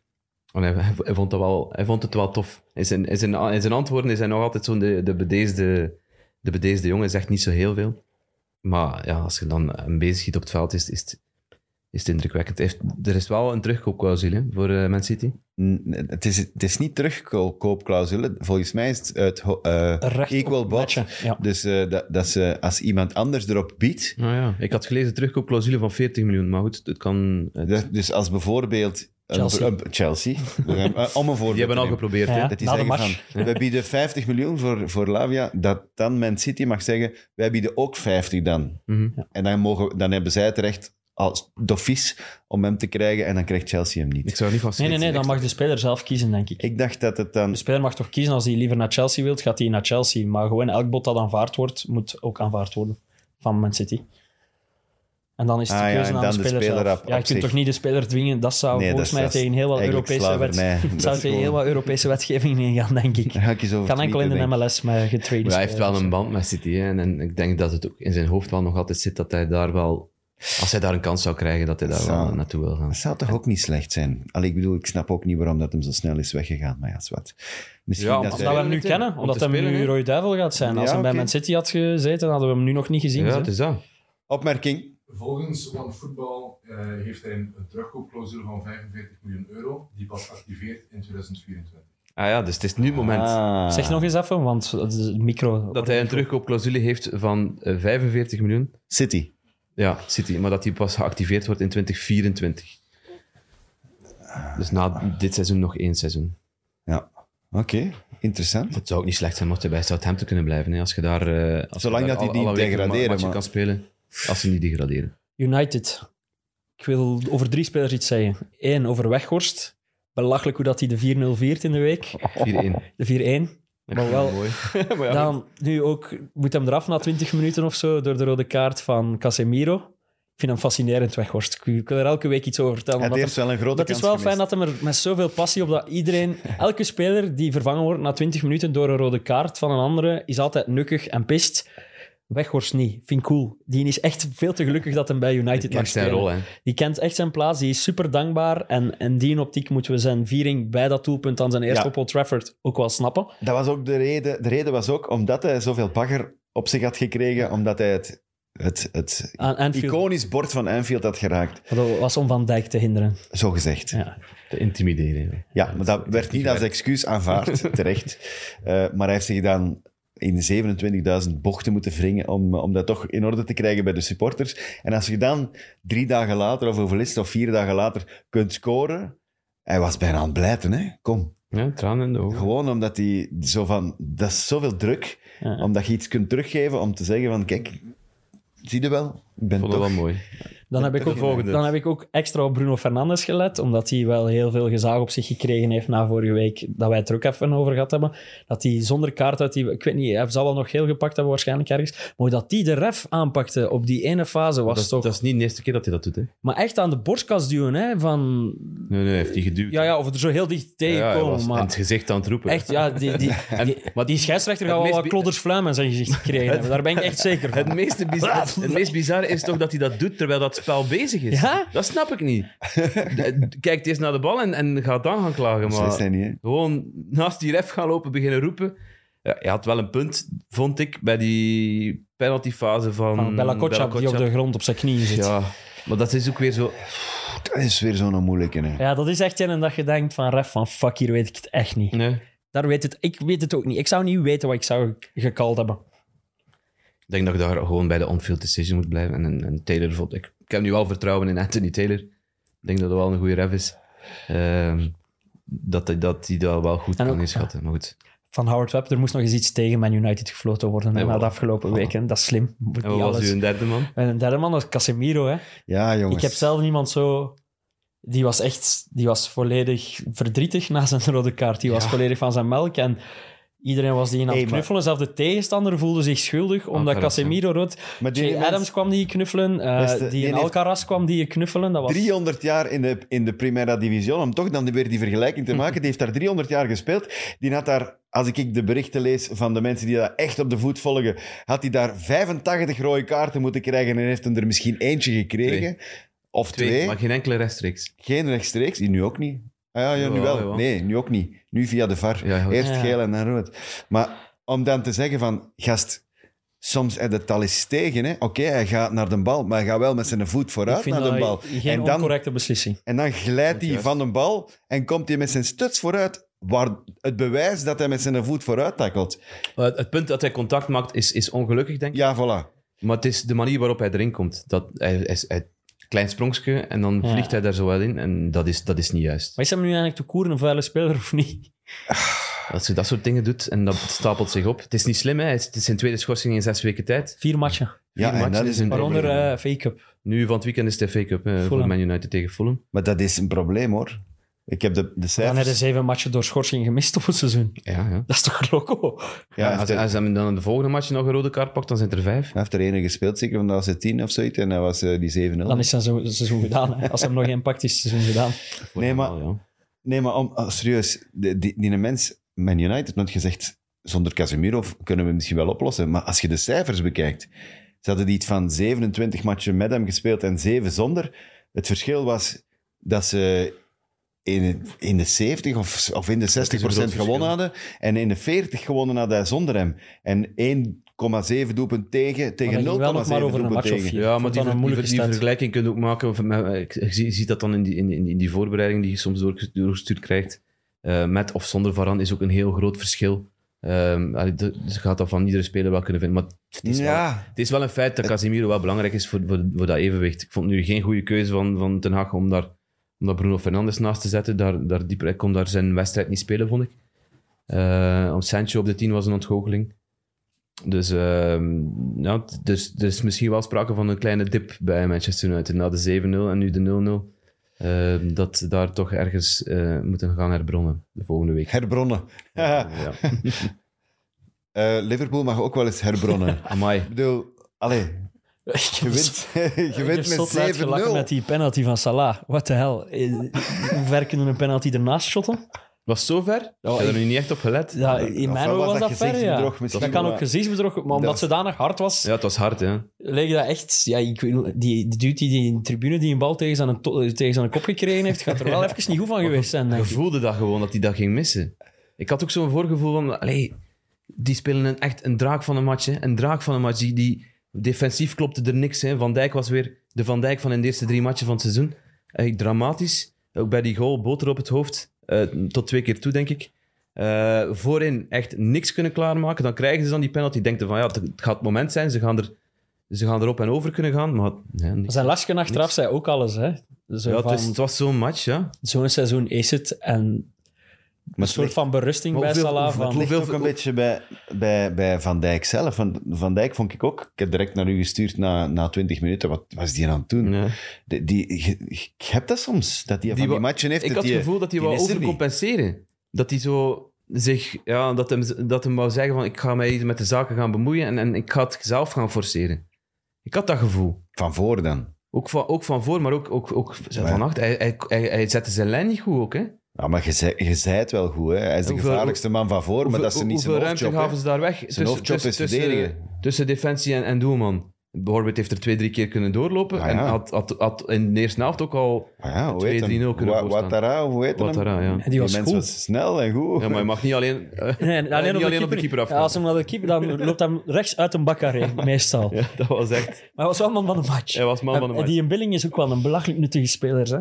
Speaker 3: En hij, hij- hij vond dat wel, hij vond het wel tof. In zijn, in zijn, in zijn antwoorden is hij nog altijd zo'n de, de, bedeesde, de bedeesde jongen. Hij zegt niet zo heel veel. Maar ja, als je dan hem bezig ziet op het veld, is, is, het- is het indrukwekkend. Hij heeft- er is wel een terugkoopclausule hè, voor eh, Man City.
Speaker 2: N- Het is, het is niet terugkoopclausule. Volgens mij is het uit ho- eh,
Speaker 4: Recht op
Speaker 2: equal
Speaker 4: het
Speaker 2: bot.
Speaker 4: matchen, ja.
Speaker 2: Dus eh, dat, dat ze, als iemand anders erop biedt...
Speaker 4: Ah,
Speaker 3: Nou ja, ik had gelezen terugkoopclausule van 40 miljoen. Maar goed, het kan... het-
Speaker 2: dat- dus als bijvoorbeeld... een-
Speaker 4: Chelsea.
Speaker 2: een- Chelsea. We gaan- eh, om een voorbeeld
Speaker 3: die hebben
Speaker 2: te
Speaker 3: al
Speaker 2: nemen.
Speaker 3: geprobeerd.
Speaker 4: Ja,
Speaker 3: hè.
Speaker 2: Dat die
Speaker 4: na de
Speaker 2: zeggen
Speaker 4: match.
Speaker 2: van, we bieden 50 miljoen voor, voor Lavia, dat dan Man City mag zeggen, wij bieden ook 50 dan.
Speaker 3: Mhm.
Speaker 2: En dan, mogen, dan hebben zij het recht als dofies om hem te krijgen en dan krijgt Chelsea hem
Speaker 3: Ik
Speaker 2: niet.
Speaker 3: zou er niet van
Speaker 4: Nee, nee, nee,
Speaker 3: schrikken.
Speaker 4: dan mag de speler zelf kiezen, denk ik.
Speaker 2: Ik dacht dat het dan...
Speaker 4: De speler mag toch kiezen als hij liever naar Chelsea wilt, gaat hij naar Chelsea. Maar gewoon elk bod dat aanvaard wordt, moet ook aanvaard worden van Man City. En dan is het de
Speaker 2: Ah ja,
Speaker 4: keuze
Speaker 2: en
Speaker 4: aan
Speaker 2: dan
Speaker 4: de
Speaker 2: de
Speaker 4: speler,
Speaker 2: speler
Speaker 4: zelf.
Speaker 2: op-
Speaker 4: ja, je
Speaker 2: op
Speaker 4: kunt
Speaker 2: zich.
Speaker 4: toch niet de speler dwingen? Dat zou
Speaker 2: Nee,
Speaker 4: volgens
Speaker 2: dat
Speaker 4: mij
Speaker 2: is-
Speaker 4: tegen heel wat
Speaker 2: eigenlijk
Speaker 4: Europese
Speaker 2: slavernij.
Speaker 4: wet...
Speaker 2: Dat
Speaker 4: zou
Speaker 2: is
Speaker 4: tegen
Speaker 2: gewoon-
Speaker 4: heel wat Europese wetgeving ingaan, denk ik.
Speaker 2: Daar ga ik eens over
Speaker 4: Kan enkel in de
Speaker 2: kniepen, denk ik.
Speaker 4: MLS met getraden
Speaker 3: Maar hij heeft wel
Speaker 4: spelers.
Speaker 3: een band met City. hè. En, en ik denk dat het ook in zijn hoofd wel nog altijd zit dat hij daar wel... Als hij daar een kans zou krijgen, dat hij daar
Speaker 2: Zou-
Speaker 3: wel naartoe wil gaan.
Speaker 2: Dat zou toch ook niet slecht zijn? Allee, ik bedoel, ik snap ook niet waarom dat hem zo snel is weggegaan, maar ja, is wat. Misschien
Speaker 3: Ja,
Speaker 2: dat
Speaker 3: omdat
Speaker 2: hij-
Speaker 4: Omdat we hem nu
Speaker 3: Om te
Speaker 4: kennen, omdat hij
Speaker 3: spelen,
Speaker 4: nu
Speaker 3: hè?
Speaker 4: Roy Duivel gaat zijn. Als
Speaker 2: Ja,
Speaker 4: hij bij
Speaker 2: oké.
Speaker 4: Man City had gezeten, hadden we hem nu nog niet gezien.
Speaker 3: Ja,
Speaker 4: hè.
Speaker 3: het is dat.
Speaker 2: Opmerking?
Speaker 5: Volgens One Football eh, heeft hij een terugkoopclausule van 45 miljoen euro, die pas activeert in 2024.
Speaker 3: Ah ja, dus het is nu het moment
Speaker 2: Ah.
Speaker 4: Zeg nog eens even, want het is een micro...
Speaker 3: dat hij een terugkoopclausule heeft van eh, 45 miljoen.
Speaker 2: City.
Speaker 3: Ja, City. Maar dat die pas geactiveerd wordt in 2024. Dus na dit seizoen nog één seizoen.
Speaker 2: Ja. Oké, interessant.
Speaker 3: Het zou ook niet slecht zijn mocht hij bij Southampton kunnen blijven. Hè, als je daar... eh, als
Speaker 2: Zolang
Speaker 3: je daar
Speaker 2: dat die
Speaker 3: alle-
Speaker 2: niet
Speaker 3: alle weken een ma-
Speaker 2: degraderen,
Speaker 3: matchje
Speaker 2: maar-
Speaker 3: kan spelen. Als ze niet degraderen.
Speaker 4: United. Ik wil over drie spelers iets zeggen. Eén, over Weghorst. Belachelijk hoe dat hij de 4-0 viert in de week.
Speaker 3: 4-1.
Speaker 4: De 4-1. Maar wel,
Speaker 3: Mooi. Maar Oh ja,
Speaker 4: dan nu ook, moet hem eraf na 20 minuten of zo door de rode kaart van Casemiro. Ik vind hem fascinerend, Weghorst. Ik- Ik wil er elke week iets over vertellen.
Speaker 2: Het
Speaker 4: omdat
Speaker 2: heeft
Speaker 4: hem-
Speaker 2: wel een grote
Speaker 4: dat
Speaker 2: kans
Speaker 4: is wel
Speaker 2: gemist.
Speaker 4: fijn dat hem er met zoveel passie op dat iedereen, elke speler die vervangen wordt na 20 minuten door een rode kaart van een andere, is altijd nukkig en pist. Weghorst niet. Vind ik cool. Die is echt veel te gelukkig dat hem bij United mag
Speaker 3: kent zijn
Speaker 4: spelen.
Speaker 3: rol, hè.
Speaker 4: Die kent echt zijn plaats, die is super dankbaar. En in die optiek moeten we zijn viering bij dat doelpunt aan zijn eerste
Speaker 2: Ja.
Speaker 4: op Old Trafford ook wel snappen.
Speaker 2: Dat was ook de reden. De reden was ook omdat hij zoveel bagger op zich had gekregen, omdat hij het, het, het
Speaker 4: Aan Anfield.
Speaker 2: iconisch bord van Anfield had geraakt,
Speaker 4: Dat was om Van Dijk te hinderen.
Speaker 2: zo gezegd. Ja,
Speaker 4: Ja.
Speaker 3: Te intimideren. ja.
Speaker 2: maar dat werd niet als excuus aanvaard, terecht. Eh, maar hij heeft zich dan in 27.000 bochten moeten wringen om, eh, om dat toch in orde te krijgen bij de supporters. En als je dan drie dagen later, of hoeveel is het, of vier dagen later, kunt scoren... Hij was bijna aan het blijten, hè. Kom.
Speaker 3: Ja, tranen in de ogen.
Speaker 2: Gewoon omdat hij zo van... Dat is zoveel druk.
Speaker 4: Ja.
Speaker 2: Omdat je iets kunt teruggeven om te zeggen van, kijk, zie je wel, ik ben
Speaker 3: vond dat
Speaker 2: toch...
Speaker 3: wel mooi.
Speaker 4: Dan, heb ik
Speaker 2: de
Speaker 4: ook,
Speaker 2: volgende.
Speaker 4: dan heb ik ook extra op Bruno Fernandes gelet, omdat hij wel heel veel gezag op zich gekregen heeft na vorige week, dat wij het er ook even over gehad hebben. Dat hij zonder kaart uit die... Ik weet niet, hij zal wel nog heel gepakt hebben waarschijnlijk ergens. Maar dat hij de ref aanpakte op die ene fase was
Speaker 3: dat, is-
Speaker 4: toch...
Speaker 3: dat is niet de eerste keer dat hij dat doet, hè?
Speaker 4: Maar echt aan de borstkast duwen, hè, van...
Speaker 3: Nee, nee, hij heeft die geduwd.
Speaker 4: Ja, ja, of er zo heel dicht
Speaker 3: Ja, ja, hij
Speaker 4: tegenkomen,
Speaker 3: was in
Speaker 4: maar...
Speaker 3: het gezicht aan het roepen.
Speaker 4: Echt, ja, die, die, die,
Speaker 3: maar
Speaker 4: die scheidsrechter gaat wel
Speaker 3: het meest
Speaker 4: wat
Speaker 3: bi-
Speaker 4: klodders fluim in zijn gezicht gekregen hebben. Daar ben ik echt zeker
Speaker 3: Het
Speaker 4: van.
Speaker 3: meeste bizar- het meest bizarre is toch dat hij dat doet terwijl dat spel bezig is.
Speaker 4: Ja?
Speaker 3: Dat snap ik niet. Kijkt eerst naar de bal en, en gaat dan gaan klagen.
Speaker 2: Zo is
Speaker 3: Maar
Speaker 2: hij niet, hè.
Speaker 3: gewoon naast die ref gaan lopen, beginnen roepen. Ja, hij had wel een punt, vond ik, bij die penaltyfase van,
Speaker 4: Van Bella Kotschap, die op de grond op zijn knieën zit.
Speaker 3: Mm, Ja, maar dat is ook weer zo...
Speaker 2: Dat is weer zo'n moeilijke, hè.
Speaker 4: Ja, dat is echt een dat je denkt van ref, van fuck, hier weet ik het echt niet.
Speaker 3: Nee.
Speaker 4: Daar weet het, ik weet het ook niet. Ik zou niet weten wat ik zou gekald hebben.
Speaker 3: Ik denk dat ik daar gewoon bij de on-field decision moet blijven. En, en, en Taylor vond ik. Ik heb nu wel vertrouwen in Anthony Taylor. Ik denk dat dat wel een goede ref is. Ehm, dat hij dat, die dat wel goed
Speaker 4: En
Speaker 3: kan
Speaker 4: ook-
Speaker 3: inschatten. Maar goed.
Speaker 4: Van Howard Webb, er moest nog eens iets tegen Man United gefloten worden hè,
Speaker 3: Ja,
Speaker 4: na de
Speaker 3: voilà.
Speaker 4: afgelopen weken. Dat is slim. Moet
Speaker 3: En wat
Speaker 4: niet
Speaker 3: was
Speaker 4: alles.
Speaker 3: uw derde man?
Speaker 4: En een derde man, dat is Casemiro. Hè.
Speaker 2: Ja, jongens.
Speaker 4: Ik heb zelf iemand zo... Die was echt... Die was volledig verdrietig na zijn rode kaart. Die was volledig van zijn melk. En Iedereen was die aan
Speaker 2: Hey,
Speaker 4: het
Speaker 2: maar- Ah,
Speaker 4: knuffelen. Zelfs de tegenstander voelde zich schuldig, omdat
Speaker 3: Alcaraz,
Speaker 4: Casemiro rood...
Speaker 2: Maar die
Speaker 4: Jay
Speaker 2: mens-
Speaker 4: Adams kwam die knuffelen. eh,
Speaker 2: Beste, die
Speaker 4: die in
Speaker 2: heeft-
Speaker 4: Alcaraz kwam die knuffelen. Dat was...
Speaker 2: 300 jaar in de, in de Primera Division, om toch dan weer die vergelijking te maken. Die heeft daar 300 jaar gespeeld. Die had daar, als ik de berichten lees van de mensen die dat echt op de voet volgen, had hij daar 85 rode kaarten moeten krijgen en heeft hem er misschien eentje gekregen. Of twee.
Speaker 3: Twee, maar geen enkele rechtstreeks.
Speaker 2: Geen rechtstreeks. Nu ook niet. Ah ja, ja, nu
Speaker 3: Ja,
Speaker 2: wel.
Speaker 3: ja.
Speaker 2: Nee, nu ook niet. Nu via de VAR.
Speaker 3: Ja, goed.
Speaker 2: Eerst
Speaker 4: Ja.
Speaker 2: geel en dan rood. Maar om dan te zeggen van, gast, soms heb je het al eens tegen. hè. Oké, hij gaat naar de bal, maar hij gaat wel met zijn voet
Speaker 4: Ik
Speaker 2: vooruit
Speaker 4: vind
Speaker 2: naar de
Speaker 4: dat
Speaker 2: bal.
Speaker 4: geen
Speaker 2: En dan,
Speaker 4: oncorrecte beslissing.
Speaker 2: en dan glijdt hij
Speaker 3: Juist.
Speaker 2: van de bal en komt hij met zijn stuts vooruit. Waar het bewijs dat hij met zijn voet vooruit takkelt.
Speaker 3: Eh, Het, punt dat hij contact maakt is, is ongelukkig, denk ik.
Speaker 2: Ja, voilà.
Speaker 3: Maar het is de manier waarop hij erin komt. Dat, hij, hij, hij- klein sprongske en dan
Speaker 4: Ja.
Speaker 3: vliegt hij daar zo wel in. En dat is, dat is niet juist.
Speaker 4: Maar is hem nu eigenlijk te koeren een vuile speler of niet?
Speaker 3: Als je dat soort dingen doet en dat stapelt zich op. Het is niet slim, hè. Het is zijn tweede schorsing in zes weken tijd.
Speaker 4: Vier matchen,
Speaker 2: Ja, en
Speaker 3: matchen
Speaker 2: dat
Speaker 3: is
Speaker 2: is
Speaker 3: een
Speaker 2: een
Speaker 4: waaronder
Speaker 2: probleem.
Speaker 4: eh fake up
Speaker 3: Nu van het weekend is de FA Cup hè, voor
Speaker 4: Fulham.
Speaker 3: Man United tegen Fulham.
Speaker 2: Maar dat is een probleem, hoor. Ik heb de, de
Speaker 4: Dan
Speaker 2: cijfers...
Speaker 4: hebben zeven matchen door schorsing gemist op het seizoen.
Speaker 3: Ja, ja.
Speaker 4: Dat is toch loco?
Speaker 2: Ja,
Speaker 3: Ja, als,
Speaker 2: hij heeft
Speaker 3: als hij dan in de volgende match nog een rode kaart pakt, dan zijn er vijf.
Speaker 2: hij heeft er ene gespeeld, zeker, want dat was het 10 of zoiets. En dat was eh, die 7-0.
Speaker 4: Dan is zijn zo- seizoen gedaan. Hè. Als hem nog geen pact is, seizoen gedaan.
Speaker 2: Nee, maar-
Speaker 3: Ja.
Speaker 2: Nee, maar om, ah, serieus, die, die, die mens, Man United, want je zegt, zonder Casemiro kunnen we het misschien wel oplossen. Maar als je de cijfers bekijkt, ze hadden die iets van 27 matchen met hem gespeeld en 7 zonder. Het verschil was dat ze in, in de 70 of, of in de 60
Speaker 3: groot
Speaker 2: procent
Speaker 3: verschil.
Speaker 2: gewonnen hadden en in de 40 gewonnen hadden hij zonder hem. En 1,7 doelpunt tegen, tegen 0,7
Speaker 4: ging wel nog maar over een
Speaker 2: doelpunt
Speaker 4: match of
Speaker 2: tegen.
Speaker 4: vier.
Speaker 3: Ja,
Speaker 4: Ik
Speaker 3: maar
Speaker 4: vond
Speaker 3: die,
Speaker 4: dat een
Speaker 3: ver- die, ver-
Speaker 4: moeilijke
Speaker 3: die
Speaker 4: stand.
Speaker 3: vergelijking kun je ook maken. Of, met- ik ik zie, zie dat dan in die, in, in in die voorbereiding die je soms door, doorgestuurd krijgt. Eh, met of zonder Varan is ook een heel groot verschil. Ehm allee, de- dus je gaat dat van iedere speler wel kunnen vinden. Maar het is, wel,
Speaker 2: Ja,
Speaker 3: het is wel een feit dat Casemiro wel belangrijk is voor, voor, voor dat evenwicht. Ik vond nu geen goede keuze van, van Ten Hag om daar, om daar Bruno Fernandes naast te zetten. Daar, daar dieper, hij kon daar zijn wedstrijd niet spelen, vond ik. Eh, om Sancho op de 10 was een ontgoocheling. Dus, ehm, ja, t- dus, dus misschien wel sprake van een kleine dip bij Manchester United. Na de 7-0 en nu de 0-0. ehm, dat ze daar toch ergens eh, moeten gaan herbronnen de volgende week.
Speaker 2: herbronnen.
Speaker 3: ja.
Speaker 2: Eh, Liverpool mag ook wel eens herbronnen.
Speaker 3: Amai.
Speaker 2: Ik bedoel, allee,
Speaker 4: Ik
Speaker 2: Je
Speaker 4: heb
Speaker 2: wint, je
Speaker 4: Ik
Speaker 2: wint
Speaker 4: heb Dus zot
Speaker 2: met 7-0.
Speaker 4: uitgelachen met die penalty van Salah. What the hell? Eh, Hoe ver kunnen we een penalty ernaast shotten?
Speaker 3: Was het zover? ik heb er nu niet echt op gelet.
Speaker 4: Ja, in
Speaker 2: Of
Speaker 4: mijn ogen was dat ver, ja.
Speaker 2: gezichtsbedrog misschien,
Speaker 4: Dat kan ook
Speaker 2: maar-
Speaker 4: gezichtsbedrog, maar
Speaker 2: Dat
Speaker 4: omdat
Speaker 2: was-
Speaker 4: ze danig hard was,
Speaker 3: Ja, het was hard, hè.
Speaker 4: leek dat echt... Ja, ik, weet niet, die, die dude die, die in de tribune die een bal tegen zijn, to- eh, tegen zijn kop gekregen heeft, gaat er wel even niet goed van geweest zijn, denk
Speaker 3: Ik
Speaker 4: ik.
Speaker 3: voelde dat gewoon, dat hij dat ging missen. Ik had ook zo'n voorgevoel van, allee, die spelen een, echt een draak van een match. Hè. Een draak van een match. Die, die, defensief klopte er niks. Hè. Van Dijk was weer de Van Dijk van in de eerste drie matchen van het seizoen. Eigenlijk dramatisch. Ook bij die goal, boter op het hoofd. Eh, tot twee keer toe, denk ik. Eh, voorin echt niks kunnen klaarmaken. Dan krijgen ze dan die penalty. Denken van, ja, het het gaat het moment zijn. Ze gaan, er, ze gaan erop en over kunnen gaan. Maar nee, niks.
Speaker 4: Zijn lasje achteraf zei ook alles, hè. Zo
Speaker 3: Ja,
Speaker 4: van,
Speaker 3: het was, het was zo'n match, ja.
Speaker 4: Zo'n seizoen is het en een soort van berusting
Speaker 3: Maar
Speaker 4: bij
Speaker 3: hoeveel-
Speaker 4: Salah
Speaker 3: hoeveel-
Speaker 4: van...
Speaker 2: Het ligt
Speaker 3: Hoeveel-
Speaker 2: ook een beetje bij, bij, bij Van Dijk zelf. Van, van Dijk vond ik ook... Ik heb direct naar u gestuurd na, na 20 minuten. Wat was die aan het doen?
Speaker 3: Ja.
Speaker 2: Die, die, je- ik heb dat soms, dat die,
Speaker 3: Die
Speaker 2: van die
Speaker 3: wa-
Speaker 2: matchen heeft.
Speaker 3: Ik
Speaker 2: dat
Speaker 3: had het
Speaker 2: die-
Speaker 3: gevoel dat hij
Speaker 2: die
Speaker 3: wou
Speaker 2: is er niet.
Speaker 3: overcompenseren. Dat hij zo zich, ja, dat hem, dat hem wou zeggen van ik ga mij met de zaken gaan bemoeien en, en ik ga het zelf gaan forceren. Ik had dat gevoel.
Speaker 2: Van voor dan.
Speaker 3: Ook van, ook van voor, maar ook, ook, ook van achter. Hij, hij, hij, hij zette zijn lijn niet goed ook, hè.
Speaker 2: Ja, maar je zei, je zei het wel goed. Hè. Hij is de
Speaker 3: Hoeveel-
Speaker 2: gevaarlijkste man van voor, maar dat is niet zijn
Speaker 3: hoeveel ruimte
Speaker 2: hoofdjob.
Speaker 3: gaven
Speaker 2: hè.
Speaker 3: ze daar weg?
Speaker 2: hoofdjob is verdedigen.
Speaker 3: tussen defensie en, en doelman. Bijvoorbeeld heeft er twee, drie keer kunnen doorlopen.
Speaker 2: Ah,
Speaker 3: En
Speaker 2: ja.
Speaker 3: had, had, had in de eerste helft ook al...
Speaker 2: Ah ja, hoe heet
Speaker 3: 2-3-0
Speaker 2: hem?
Speaker 3: kunnen
Speaker 2: Wa-
Speaker 3: voorstaan.
Speaker 2: Ouattara, of hoe heet
Speaker 3: Wat
Speaker 2: hem?
Speaker 3: daar, ja.
Speaker 4: Die was
Speaker 2: mens
Speaker 4: goed.
Speaker 2: was snel en goed.
Speaker 3: ja. Maar je mag niet alleen... eh,
Speaker 4: Nee, alleen,
Speaker 3: niet
Speaker 4: op, de
Speaker 3: alleen op de keeper
Speaker 4: af.
Speaker 3: afgaan.
Speaker 4: als hem naar de keeper, dan loopt hem rechts uit een bakkaré, meestal.
Speaker 3: ja, dat was echt...
Speaker 4: Maar hij was wel man van de match.
Speaker 3: Hij was man van de
Speaker 4: En-
Speaker 3: match.
Speaker 4: En die in Billing is ook wel een belachelijk nuttige speler. Hè?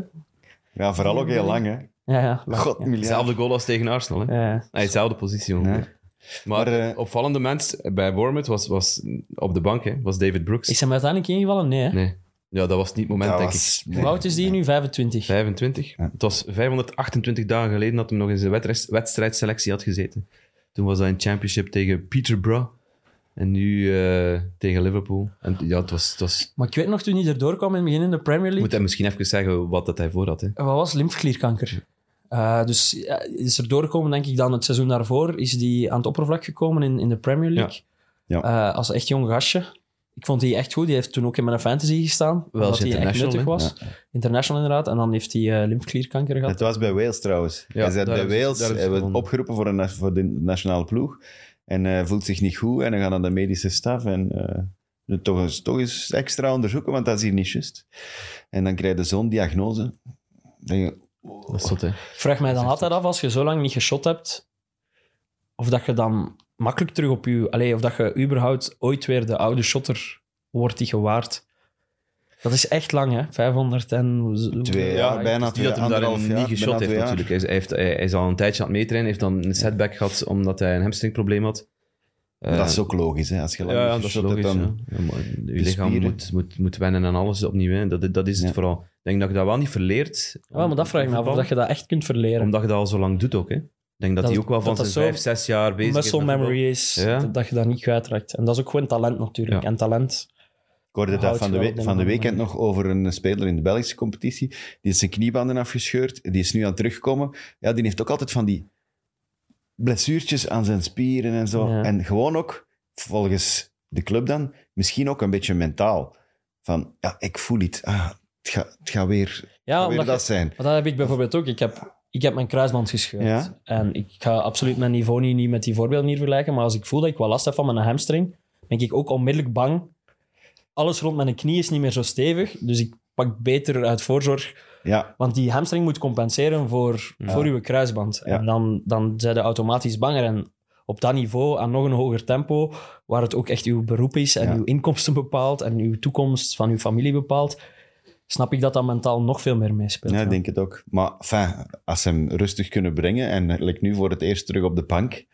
Speaker 2: Ja, vooral ook heel lang, hè.
Speaker 4: Ja, ja. lang,
Speaker 2: God,
Speaker 4: ja.
Speaker 2: miljard.
Speaker 3: Hetzelfde goal als tegen Arsenal, hè.
Speaker 4: Ja. Eh,
Speaker 3: Nee, dezelfde positie ongeveer. Maar,
Speaker 2: Maar, eh,
Speaker 3: opvallende mens bij Bournemouth was, was op de bank, hè, was David Brooks.
Speaker 4: Is hem uiteindelijk ingevallen? Nee. hè?
Speaker 3: Nee. Ja, dat was niet het moment,
Speaker 2: Dat
Speaker 3: denk ik.
Speaker 2: was-
Speaker 4: Hoe oud is die nu? 25.
Speaker 3: 25.
Speaker 2: Ja.
Speaker 3: Het was 528 dagen geleden dat hij nog in zijn wedres- wedstrijdselectie had gezeten. Toen was dat in championship tegen Peterborough. En nu eh, tegen Liverpool. En ja, het was... Het was
Speaker 4: Maar ik weet nog, toen hij erdoor kwam in het begin in de Premier
Speaker 3: moet
Speaker 4: League,
Speaker 3: hij misschien even zeggen wat dat hij voor had. Hè.
Speaker 4: wat was lymfeklierkanker? Eh, dus ja, is er doorgekomen, denk ik, dan het seizoen daarvoor is die aan het oppervlak gekomen in, in de Premier League.
Speaker 2: Ja.
Speaker 4: Eh, als een echt jong gastje. Ik vond die echt goed. Die heeft toen ook in mijn fantasy gestaan.
Speaker 3: Wel
Speaker 4: omdat
Speaker 3: als
Speaker 4: hij echt
Speaker 3: international,
Speaker 4: nuttig
Speaker 3: hè?
Speaker 4: was. International inderdaad. En dan heeft hij eh lymfklierkanker gehad.
Speaker 2: Het was bij Wales trouwens.
Speaker 3: Ja,
Speaker 2: hij zat
Speaker 3: daar
Speaker 2: bij
Speaker 3: hebben ze-
Speaker 2: Wales,
Speaker 3: daar
Speaker 2: hij
Speaker 3: hebben ze
Speaker 2: werd
Speaker 3: gewonnen.
Speaker 2: opgeroepen voor, een, na- voor de nationale ploeg. En eh, voelt zich niet goed en dan gaan naar de medische staf en eh, toch, eens, toch eens extra onderzoeken, want dat is hier niet juist. En dan krijg je zo'n diagnose. Dan denk je,
Speaker 3: Dat is zot, hè?
Speaker 4: Ik vraag mij dan altijd af, als je zo lang niet geshot hebt, of dat je dan makkelijk terug op je... Allee, of dat je überhaupt ooit weer de oude shotter wordt die gewaard. Dat is echt lang, hè? 500 en...
Speaker 3: eh,
Speaker 2: Twee jaar,
Speaker 4: Ja,
Speaker 2: bijna
Speaker 4: het
Speaker 3: Die
Speaker 2: twee
Speaker 3: dat hem daarin
Speaker 2: anderhalf jaar,
Speaker 3: niet
Speaker 2: bijna
Speaker 3: geschot heeft,
Speaker 2: twee jaar.
Speaker 3: natuurlijk. Hij is, hij heeft, hij is al een tijdje aan het meetrainen, heeft dan een setback gehad omdat hij een hamstringprobleem had.
Speaker 2: Maar dat is ook logisch, hè. Als je
Speaker 3: ja,
Speaker 2: lang
Speaker 3: Eh, ja,
Speaker 2: niet
Speaker 3: dat is
Speaker 2: geshot hebt,
Speaker 3: logisch.
Speaker 2: dan...
Speaker 3: ja. Ja, maar je lichaam
Speaker 2: spieren.
Speaker 3: moet, moet, moet wennen aan alles opnieuw. Hè. Dat, dat is het
Speaker 2: Ja.
Speaker 3: vooral. Ik denk dat je dat wel niet verleert.
Speaker 4: Ja, maar dat vraag ik me af, of dat je dat echt kunt verleren.
Speaker 3: Omdat je dat al zo lang doet ook. Hè. Ik denk dat
Speaker 4: Dat-
Speaker 3: hij ook wel
Speaker 4: dat
Speaker 3: van
Speaker 4: dat
Speaker 3: zijn
Speaker 4: zo-
Speaker 3: vijf, zes jaar bezig is.
Speaker 4: Muscle
Speaker 3: met voetbal.
Speaker 4: memory is,
Speaker 3: Ja.
Speaker 4: dat je dat niet kwijtraakt. En dat is ook gewoon talent natuurlijk.
Speaker 3: Ja.
Speaker 4: En talent...
Speaker 2: Ik hoorde dat
Speaker 4: Houdt
Speaker 2: van de,
Speaker 4: wel
Speaker 2: we-
Speaker 4: op de
Speaker 2: van de
Speaker 4: man,
Speaker 2: weekend nog over een speler in de Belgische competitie. Die is zijn kniebanden afgescheurd. Die is nu aan het terugkomen. Ja, die heeft ook altijd van die blessuurtjes aan zijn spieren en zo.
Speaker 4: Ja.
Speaker 2: En gewoon ook, volgens de club dan, misschien ook een beetje mentaal. Van, ja, ik voel iets. Ah, het gaat het gaat weer, het
Speaker 4: Ja,
Speaker 2: gaat weer
Speaker 4: omdat
Speaker 2: dat
Speaker 4: je-
Speaker 2: zijn.
Speaker 4: Maar dat heb ik bijvoorbeeld ook. Ik heb, ik heb mijn kruisband gescheurd.
Speaker 2: Ja.
Speaker 4: En ik ga absoluut mijn niveau niet, niet met die voorbeelden hier vergelijken. Maar als ik voel dat ik wel last heb van mijn hamstring, ben ik ook onmiddellijk bang. Alles rond mijn knie is niet meer zo stevig. Dus ik pak beter uit voorzorg.
Speaker 2: Ja,
Speaker 4: Want die hamstring moet compenseren voor, voor uw kruisband.
Speaker 2: Ja.
Speaker 4: En dan, dan zijn je automatisch banger. En op dat niveau, aan nog een hoger tempo, waar het ook echt uw beroep is en
Speaker 2: Ja.
Speaker 4: uw inkomsten bepaalt en uw toekomst van uw familie bepaalt, snap ik dat dat mentaal nog veel meer meespeelt.
Speaker 2: ja,
Speaker 4: ja.
Speaker 2: ik denk het ook. Maar enfin, als ze hem rustig kunnen brengen en like nu voor het eerst terug op de bank,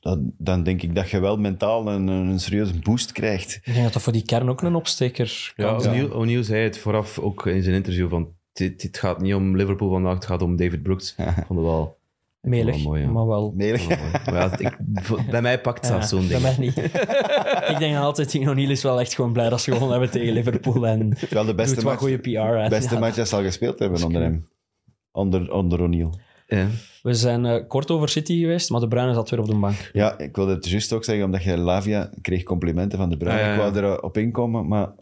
Speaker 2: dan, dan denk ik dat je wel mentaal een, een serieuze boost krijgt.
Speaker 4: Ik denk dat dat voor die kern ook een opsteker kan
Speaker 3: Ja,
Speaker 4: zijn.
Speaker 3: O'Neill, O'Neill zei het vooraf ook in zijn interview van dit, dit gaat niet om Liverpool vandaag, het gaat om David Brooks. Ik vond het wel...
Speaker 4: Melig,
Speaker 3: Wel mooi, ja.
Speaker 4: maar wel...
Speaker 2: Melig.
Speaker 3: wel mooi. Maar ja, ik, v- bij mij pakt dat
Speaker 4: Ja,
Speaker 3: zo'n ding.
Speaker 4: Dat ben niet. ik denk dan altijd, die O'Neill is wel echt gewoon blij dat ze gewonnen hebben tegen Liverpool en
Speaker 2: Het is wel de
Speaker 4: beste
Speaker 2: beste
Speaker 4: doet wat
Speaker 2: match,
Speaker 4: goede PR. En
Speaker 2: beste
Speaker 4: ja.
Speaker 2: match dat ze al gespeeld hebben onder hem. Onder, onder O'Neill.
Speaker 3: Ja.
Speaker 4: We zijn eh, kort over City geweest, maar De Bruyne zat weer op de bank.
Speaker 2: Ja, ik wilde het juist ook zeggen, omdat je Lavia kreeg complimenten van de Bruin.
Speaker 3: Ah, ja, ja.
Speaker 2: Ik wou erop inkomen, maar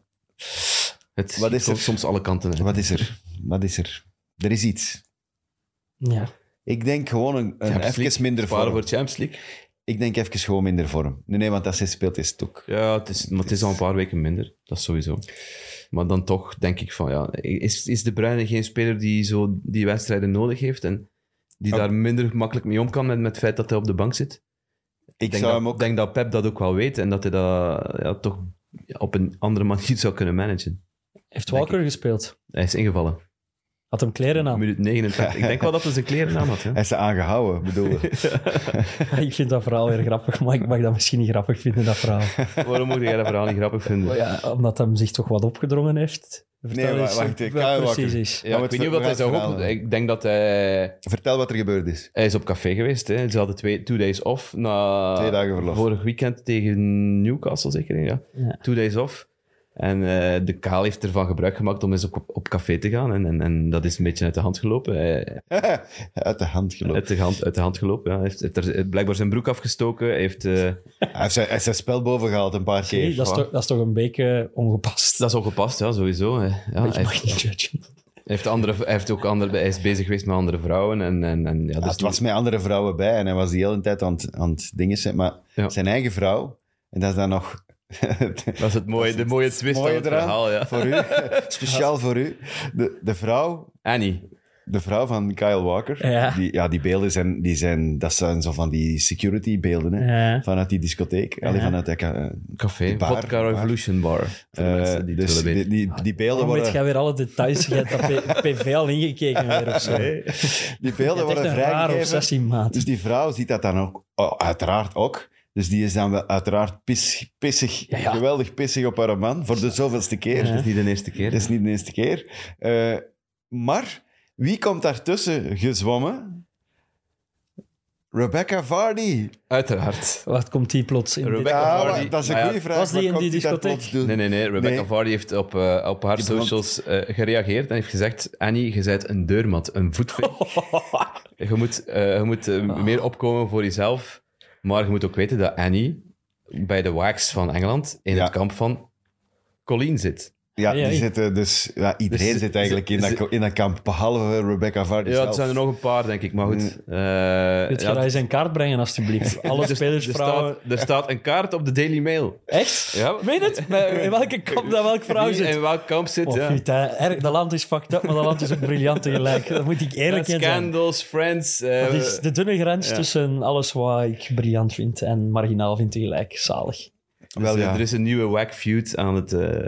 Speaker 3: Het
Speaker 2: Wat is
Speaker 3: schiet
Speaker 2: er?
Speaker 3: soms alle kanten. hè.
Speaker 2: wat is er? Wat is er? Er is iets.
Speaker 4: Ja.
Speaker 2: Ik denk gewoon een, een
Speaker 3: Champions
Speaker 2: even
Speaker 3: League,
Speaker 2: minder
Speaker 3: sparen
Speaker 2: vorm.
Speaker 3: voor Champions League.
Speaker 2: Ik denk even gewoon minder vorm. Nee, nee, want als hij speelt is het ook.
Speaker 3: Ja, het is, maar het is al een paar weken minder. Dat is sowieso. Maar dan toch denk ik van ja, is, is De Bruyne geen speler die zo die wedstrijden nodig heeft en die
Speaker 2: Oh.
Speaker 3: daar minder makkelijk mee om kan met, met het feit dat hij op de bank zit?
Speaker 2: Ik
Speaker 3: denk,
Speaker 2: zou
Speaker 3: dat,
Speaker 2: hem ook...
Speaker 3: denk dat Pep dat ook wel weet en dat hij dat ja, toch op een andere manier zou kunnen managen.
Speaker 4: Heeft Walker gespeeld?
Speaker 3: Hij is ingevallen.
Speaker 4: Had hem kleren aan.
Speaker 3: Minuut 89. Ik denk wel dat hij zijn kleren aan had. Ja.
Speaker 2: Hij is ze aangehouden, bedoel ik.
Speaker 4: ik vind dat verhaal weer grappig, maar ik mag dat misschien niet grappig vinden, dat verhaal.
Speaker 3: Waarom moet jij dat verhaal niet grappig vinden?
Speaker 4: Maar ja, omdat hij hem zich toch wat opgedrongen heeft. Vertel
Speaker 2: Nee, wa-
Speaker 4: eens
Speaker 2: wacht, ik
Speaker 4: wat
Speaker 2: ga
Speaker 4: precies
Speaker 2: wakker.
Speaker 4: is.
Speaker 2: Ja,
Speaker 3: Ja,
Speaker 2: maar
Speaker 3: ik
Speaker 2: het
Speaker 3: weet niet wat hij
Speaker 2: ver-
Speaker 3: zou
Speaker 2: verhaal,
Speaker 3: ook...
Speaker 2: hè.
Speaker 3: Ik denk dat hij...
Speaker 2: Vertel wat er gebeurd is.
Speaker 3: Hij is op café geweest. Hè. Ze hadden twee, two days off. Na
Speaker 2: Twee dagen verlof.
Speaker 3: Vorig weekend tegen Newcastle, zeker. Ja.
Speaker 4: Ja.
Speaker 3: Two days off. En eh, de Kaal heeft ervan gebruik gemaakt om eens op, op café te gaan. En, en, en dat is een beetje uit de hand gelopen. Hij-
Speaker 2: Uit de hand gelopen.
Speaker 3: uit, de hand, uit de hand gelopen. Ja. Hij heeft, heeft er blijkbaar zijn broek afgestoken. Hij heeft, eh,
Speaker 2: Hij heeft zijn, hij heeft zijn spel bovengehaald een paar
Speaker 4: Nee,
Speaker 2: keer.
Speaker 4: dat, is toch, dat is toch een beetje ongepast.
Speaker 3: dat is ongepast, ja, sowieso. hè. Ja,
Speaker 4: je
Speaker 3: hij,
Speaker 4: mag niet judgen.
Speaker 3: hij heeft andere, hij, heeft ook andere, hij is bezig geweest met andere vrouwen. En, en, en, ja,
Speaker 2: Ja,
Speaker 3: dus
Speaker 2: het was met andere vrouwen bij en hij was die hele tijd aan het, aan het dingen zetten. Maar
Speaker 3: Ja.
Speaker 2: zijn eigen vrouw, en dat is dan nog
Speaker 3: dat is het mooie, de mooie twist
Speaker 2: mooie
Speaker 3: van het
Speaker 2: eraan.
Speaker 3: verhaal. Ja.
Speaker 2: voor u, speciaal voor u, de, de, vrouw,
Speaker 3: Annie.
Speaker 2: de vrouw van Kyle Walker.
Speaker 4: Ja.
Speaker 2: Die, ja, die beelden zijn, die zijn, dat zijn zo van die security beelden, hè.
Speaker 4: Ja.
Speaker 2: Vanuit die discotheek, Allee,
Speaker 4: Ja.
Speaker 2: vanuit dat ka- eh,
Speaker 3: Café.
Speaker 2: bar,
Speaker 3: Vodka
Speaker 2: bar.
Speaker 3: Revolution Bar. Voor de mensen die het
Speaker 2: dus
Speaker 3: willen weten.
Speaker 2: die, die, die beelden
Speaker 4: Waarom Oh, weet
Speaker 2: worden,
Speaker 4: jij weer alle details? Je hebt dat P- PV al ingekeken weer of zo. Je
Speaker 2: die beelden
Speaker 4: hebt echt
Speaker 2: worden
Speaker 4: een rare
Speaker 2: vrijgegeven.
Speaker 4: obsessie, maat.
Speaker 2: Dus die vrouw ziet dat dan ook, oh, uiteraard ook. Dus die is dan wel uiteraard pis, pissig,
Speaker 4: Ja, ja.
Speaker 2: geweldig pissig op haar man, voor de zoveelste keer.
Speaker 4: Ja.
Speaker 3: Het is niet de eerste
Speaker 2: Dat
Speaker 3: keer.
Speaker 2: is niet de eerste keer. Eh, maar wie komt daartussen gezwommen? Rebecca Vardy.
Speaker 3: Uiteraard.
Speaker 4: Waar komt die plots in?
Speaker 3: Rebecca
Speaker 4: Dit-
Speaker 2: Ja,
Speaker 3: Vardy.
Speaker 2: maar dat is
Speaker 3: Ah,
Speaker 2: een
Speaker 3: ja.
Speaker 2: goede vraag.
Speaker 4: Was die
Speaker 2: Wat
Speaker 4: in
Speaker 2: komt
Speaker 4: die
Speaker 2: daar
Speaker 4: discotheek?
Speaker 2: plots doen?
Speaker 3: Nee, nee, nee. Rebecca
Speaker 2: Nee.
Speaker 3: Vardy heeft op, eh, op haar
Speaker 2: Die brandt.
Speaker 3: socials eh, gereageerd en heeft gezegd... Annie, je bent een deurmat, een voetvink. je moet, eh, je moet eh,
Speaker 2: Ah.
Speaker 3: meer opkomen voor jezelf. Maar je moet ook weten dat Annie bij de Wax van Engeland in
Speaker 2: Ja.
Speaker 3: het kamp van Colleen zit.
Speaker 2: Ja,
Speaker 4: Ja,
Speaker 2: die
Speaker 4: ja.
Speaker 2: zitten dus... Ja, iedereen
Speaker 3: Dus-
Speaker 2: zit eigenlijk in,
Speaker 3: ze-
Speaker 2: dat, in dat kamp, behalve Rebecca Vardy
Speaker 3: Ja, er
Speaker 2: zelf.
Speaker 3: Dus zijn er nog een paar, denk ik. Maar goed.
Speaker 2: Mm.
Speaker 3: eh,
Speaker 4: Dit ga
Speaker 3: ja,
Speaker 4: jij zijn kaart brengen, alstublieft. Alle
Speaker 3: er-
Speaker 4: spelers,
Speaker 3: er
Speaker 4: vrouwen.
Speaker 3: dus staat, er staat een kaart op de Daily Mail.
Speaker 4: Echt?
Speaker 3: Ja.
Speaker 4: Meen het? Bij- In welke kamp dat welk vrouw
Speaker 3: Wie
Speaker 4: zit?
Speaker 3: In welk kamp zit,
Speaker 4: Oh,
Speaker 3: ja.
Speaker 4: goed, hè. Erg, dat land is fucked up, maar dat land is ook briljant tegelijk. Dat moet ik eerlijk in zijn.
Speaker 3: Scandals, Friends. eh,
Speaker 4: Dat is de dunne grens
Speaker 3: Ja.
Speaker 4: tussen alles wat ik briljant vind en marginaal vind tegelijk. Zalig.
Speaker 3: dus,
Speaker 2: Wel,
Speaker 3: eh,
Speaker 2: ja.
Speaker 3: Er is een nieuwe wack feud aan het, eh,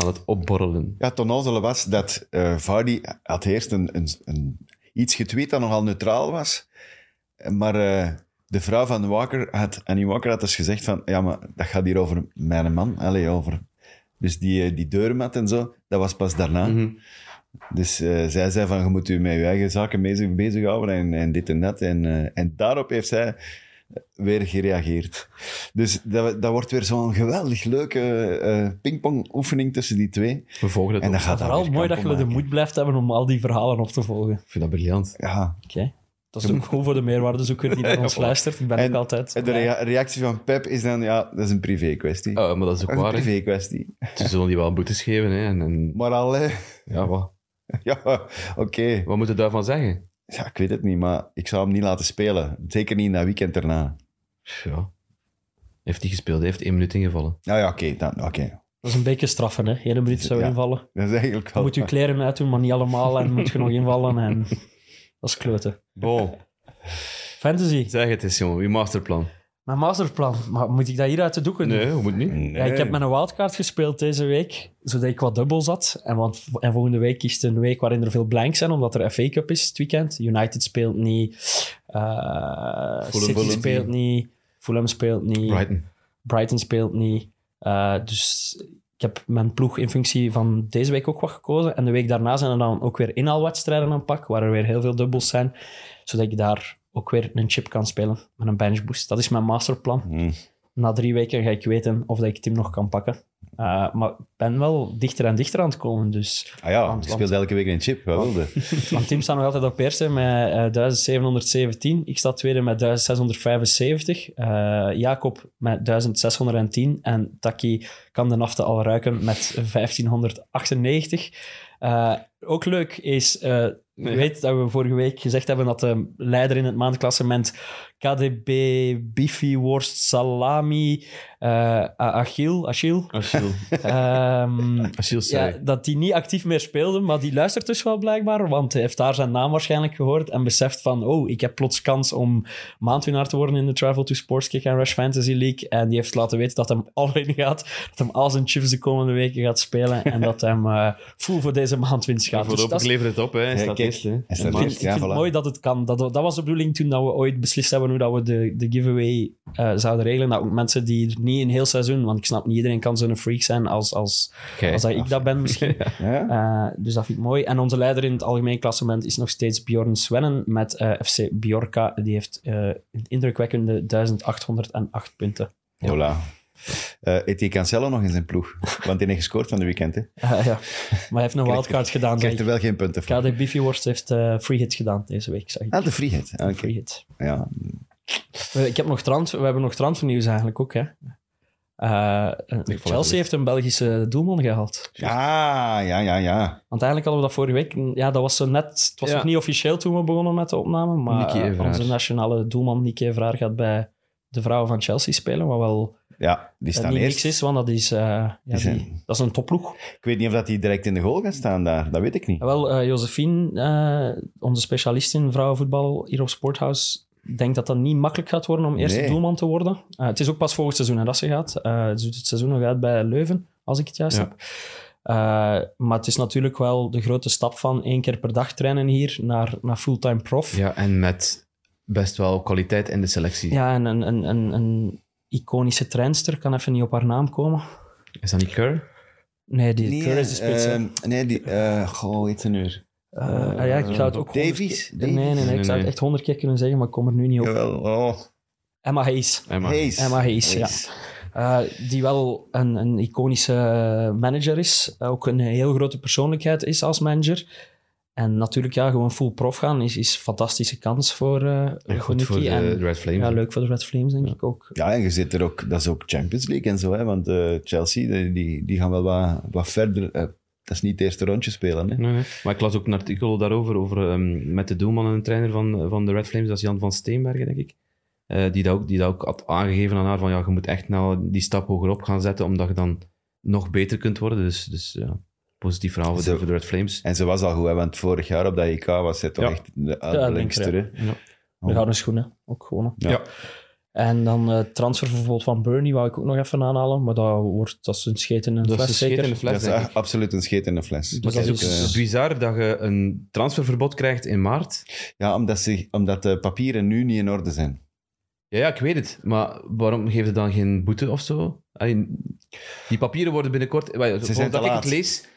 Speaker 3: aan het opborrelen.
Speaker 2: Ja, het onnozele was dat eh Vardy had eerst een, een, een, iets getweet dat nogal neutraal was. Maar eh, de vrouw van Walker had, Annie Walker had dus gezegd van... Ja, maar dat gaat hier over mijn man. Allee, over... Dus die, eh, die deurmat en zo, dat was pas daarna.
Speaker 3: Mhm.
Speaker 2: Dus eh, zij zei van, je moet u met je eigen zaken bezig, bezighouden en, en dit en dat. En, eh, en daarop heeft zij weer gereageerd. Dus dat, dat wordt weer zo'n geweldig leuke eh, pingpong-oefening tussen die twee.
Speaker 3: We volgen het
Speaker 2: en dan
Speaker 3: ook.
Speaker 2: gaat dat
Speaker 4: Vooral
Speaker 2: weer
Speaker 4: mooi dat
Speaker 2: kampen
Speaker 4: je de
Speaker 2: maken.
Speaker 4: moed blijft hebben om al die verhalen op te volgen.
Speaker 3: Ik vind dat briljant.
Speaker 2: Ja.
Speaker 4: Oké. Dat is ook goed voor de meerwaardezoeker die naar ons luistert. Ik ben
Speaker 2: En-
Speaker 4: ook altijd.
Speaker 2: En de rea- reactie van Pep is dan, ja, dat is een privé-kwestie.
Speaker 3: Oh, maar dat is
Speaker 2: dat is
Speaker 3: ook
Speaker 2: een
Speaker 3: waar. hè.
Speaker 2: privé-kwestie.
Speaker 3: Ze zullen die wel boetes geven. Hè. En, en-
Speaker 2: Maar al, hè.
Speaker 3: ja, wat,
Speaker 2: ja, oké.
Speaker 3: wat moeten we daarvan zeggen?
Speaker 2: Ja, ik weet het niet, maar ik zou hem niet laten spelen. Zeker niet in dat weekend erna.
Speaker 3: Pff, Ja. Heeft niet gespeeld, hij heeft één minuut ingevallen.
Speaker 2: Nou ja, oké. dan oké.
Speaker 4: Dat is een beetje straffen, hè? Eén minuut zou
Speaker 2: Ja. Oh.
Speaker 4: invallen.
Speaker 2: Dat is eigenlijk
Speaker 4: Je
Speaker 2: wel...
Speaker 4: moet je kleren uitdoen, maar niet allemaal. En moet je nog invallen. En... Dat is kloten.
Speaker 2: Oh.
Speaker 3: Bon,
Speaker 4: Fantasy.
Speaker 3: zeg het eens, jongen, je masterplan.
Speaker 4: Mijn masterplan. Maar moet ik dat hier uit de doeken doen?
Speaker 3: Nee, hoe moet niet?
Speaker 2: Nee.
Speaker 4: Ja, ik heb met een wildcard gespeeld deze week, zodat ik wat dubbel zat. En, want, en volgende week is het een week waarin er veel blanks zijn, omdat er FA Cup is het weekend. United speelt niet, eh, City
Speaker 3: Fulham.
Speaker 4: speelt niet, Fulham speelt niet,
Speaker 3: Brighton.
Speaker 4: Brighton speelt niet. Eh, dus ik heb mijn ploeg in functie van deze week ook wat gekozen. En de week daarna zijn er dan ook weer inhaalwedstrijden aan pak, waar er weer heel veel dubbels zijn. Zodat ik daar ook weer een chip kan spelen met een bench boost. Dat is mijn masterplan.
Speaker 2: Hm.
Speaker 4: Na drie weken ga ik weten of dat ik het hem nog kan pakken. Eh, maar ik ben wel dichter en dichter aan het komen. Dus.
Speaker 2: Ah ja,
Speaker 4: Want-
Speaker 2: je speelt elke week een chip. Wat wilde?
Speaker 4: Mijn team staat nog altijd op eerste met eh, 1717. Ik sta tweede met 1675. Eh, Jacob met 1610. En Taki kan de nafte al ruiken met 1598. Eh, ook leuk is... eh ik weet dat we vorige week gezegd hebben dat de leider in het maandklassement KDB, Biffy, Worst, Salami, eh Achille, Achille
Speaker 3: Achille.
Speaker 4: ehm, ja,
Speaker 3: Achille, sorry.
Speaker 4: dat die niet actief meer speelde, maar die luistert dus wel blijkbaar, want hij heeft daar zijn naam waarschijnlijk gehoord en beseft van, oh, ik heb plots kans om maandwinnaar te worden in de Travel to Sports Kick en Rush Fantasy League. En die heeft laten weten dat hem al in gaat, dat hem al zijn chips de komende weken gaat spelen en dat hem eh full voor deze maandwinst gaat. Dus dat
Speaker 3: Voorlopig
Speaker 4: is-
Speaker 3: levert het op, hè. Hij
Speaker 2: Ja,
Speaker 3: staat
Speaker 2: kijk.
Speaker 3: eerst, hè.
Speaker 2: Hij staat
Speaker 3: En
Speaker 4: ik
Speaker 3: maar-
Speaker 4: vind,
Speaker 2: eerst.
Speaker 4: ik vind
Speaker 2: Ja, voilà.
Speaker 4: het mooi dat het kan. Dat, dat was de bedoeling toen dat we ooit beslist hebben hoe dat we de, de giveaway eh, zouden regelen. Dat ook mensen die er niet een heel seizoen, want ik snap niet iedereen kan zo'n freak zijn als, als,
Speaker 3: Gij.
Speaker 4: als dat ik dat ben misschien.
Speaker 2: Ja?
Speaker 4: Eh, dus dat vind ik mooi. En onze leider in het algemeen klassement is nog steeds Bjorn Svennen met eh, FC Bjorka. Die heeft eh, een indrukwekkende 1808 punten.
Speaker 2: Voilà. Eh Etienne Cancelo nog in zijn ploeg. Want die heeft gescoord van de weekend. Hè.
Speaker 4: Eh, ja. Maar hij heeft een wildcard gedaan.
Speaker 2: Krijgt er
Speaker 4: zeg ik.
Speaker 2: wel geen punten voor.
Speaker 4: KD Biffyworst heeft eh, free hit gedaan deze week, zag ik.
Speaker 2: Ah, de vrijheid. Ah, Oké.
Speaker 4: Free hit.
Speaker 2: Ja.
Speaker 4: We, ik heb nog trans, we hebben nog transfernieuws eigenlijk ook, hè. Eh,
Speaker 3: het
Speaker 4: Chelsea heeft een Belgische doelman gehaald.
Speaker 2: ja, ja, ja, ja.
Speaker 4: Want eigenlijk hadden we dat vorige week. Ja, dat was zo net. Het was
Speaker 3: Ja.
Speaker 4: nog niet officieel toen we begonnen met de opname. Maar
Speaker 3: Nicky
Speaker 4: eh,
Speaker 3: Everaar.
Speaker 4: onze nationale doelman Nicky Evraar gaat bij de vrouwen van Chelsea spelen. Wat wel
Speaker 2: Ja, die
Speaker 4: eh,
Speaker 2: staan
Speaker 4: niet
Speaker 2: eerst.
Speaker 4: niks is, want dat is, eh, ja, die
Speaker 2: zijn-
Speaker 4: dat is een topploeg.
Speaker 2: Ik weet niet of dat die direct in de goal gaan staan daar. Dat weet ik niet.
Speaker 4: Wel, eh Josephine, eh, onze specialist in vrouwenvoetbal hier op Sporthouse, denkt dat dat niet makkelijk gaat worden om eerste
Speaker 2: Nee.
Speaker 4: doelman te worden. Eh, het is ook pas volgend seizoen hè, dat ze gaat. Eh ze doet het seizoen nog uit bij Leuven, als ik het juist
Speaker 3: Ja.
Speaker 4: heb. Eh, maar het is natuurlijk wel de grote stap van één keer per dag trainen hier naar, naar fulltime prof.
Speaker 3: Ja, en met best wel kwaliteit in de selectie.
Speaker 4: Ja, en een, een, een, een iconische trainster kan even niet op haar naam komen.
Speaker 3: Is dat niet Kerr?
Speaker 4: Nee, die
Speaker 2: Nee, ehm,
Speaker 4: Keur is de spits. hè.
Speaker 2: eh, nee, die... eh goh, iets een uur.
Speaker 4: Eh, ah ja, ik zou het ook honderd
Speaker 2: Davies?
Speaker 4: keer- Nee, nee, nee,
Speaker 3: Nee,
Speaker 4: Ik zou het
Speaker 3: nee.
Speaker 4: echt honderd keer kunnen zeggen, maar ik kom er nu niet op.
Speaker 2: Jawel. Oh,
Speaker 4: Emma Hayes.
Speaker 3: Emma.
Speaker 2: Hayes.
Speaker 4: Emma Hayes, ja. Eh, die wel een, een iconische eh, manager is. Ook een heel grote persoonlijkheid is als manager. En natuurlijk, ja, gewoon full prof gaan is, is een fantastische kans voor, eh
Speaker 3: En
Speaker 4: voor
Speaker 3: goed voor
Speaker 4: Nicky.
Speaker 3: de
Speaker 4: En
Speaker 3: Red Flames.
Speaker 4: ja, leuk voor de Red Flames, denk ik ook.
Speaker 2: Ja, en je zit er ook, dat is ook Champions League en zo, hè, want eh, Chelsea, die- die, die gaan wel wat, wat verder. eh, dat is niet het eerste rondje spelen. Hè.
Speaker 3: Nee, nee. Maar ik las ook een artikel daarover, over, ehm, met de doelman en de trainer van, van de Red Flames, dat is Jan van Steenbergen, denk ik. Eh, die, dat ook, die dat ook had aangegeven aan haar, van ja, je moet echt nou die stap hogerop gaan zetten, omdat je dan nog beter kunt worden. Dus, dus ja, positief verhaal voor,
Speaker 2: Zo.
Speaker 3: de, voor de Red Flames.
Speaker 2: En ze was al goed, hè, want vorig jaar op dat IK was zij toch
Speaker 3: Ja.
Speaker 2: echt de
Speaker 4: linker,
Speaker 2: allerlinkster. hè.
Speaker 3: Ja.
Speaker 4: De gouden schoenen, ook gewonnen.
Speaker 2: Ja.
Speaker 1: Ja.
Speaker 4: En dan eh transfer bijvoorbeeld van Burnley, wou ik ook nog even aanhalen. Maar dat, wordt, dat is een scheet in een
Speaker 3: Dat is
Speaker 4: fles,
Speaker 3: een scheet in
Speaker 4: zeker.
Speaker 3: de
Speaker 2: Dat
Speaker 3: fles,
Speaker 2: is
Speaker 3: denk ik.
Speaker 2: echt absoluut een scheet in de fles. Dus, eh,
Speaker 3: Maar het is ook eh,
Speaker 4: dat is-
Speaker 3: bizar dat je een transferverbod krijgt in maart.
Speaker 2: Ja, omdat, ze, omdat de papieren nu niet in orde zijn.
Speaker 3: Ja, ja, ik weet het. Maar waarom geeft het dan geen boete of zo? Allee, die papieren worden binnenkort...
Speaker 2: te
Speaker 3: Omdat ik
Speaker 2: laat.
Speaker 3: het lees,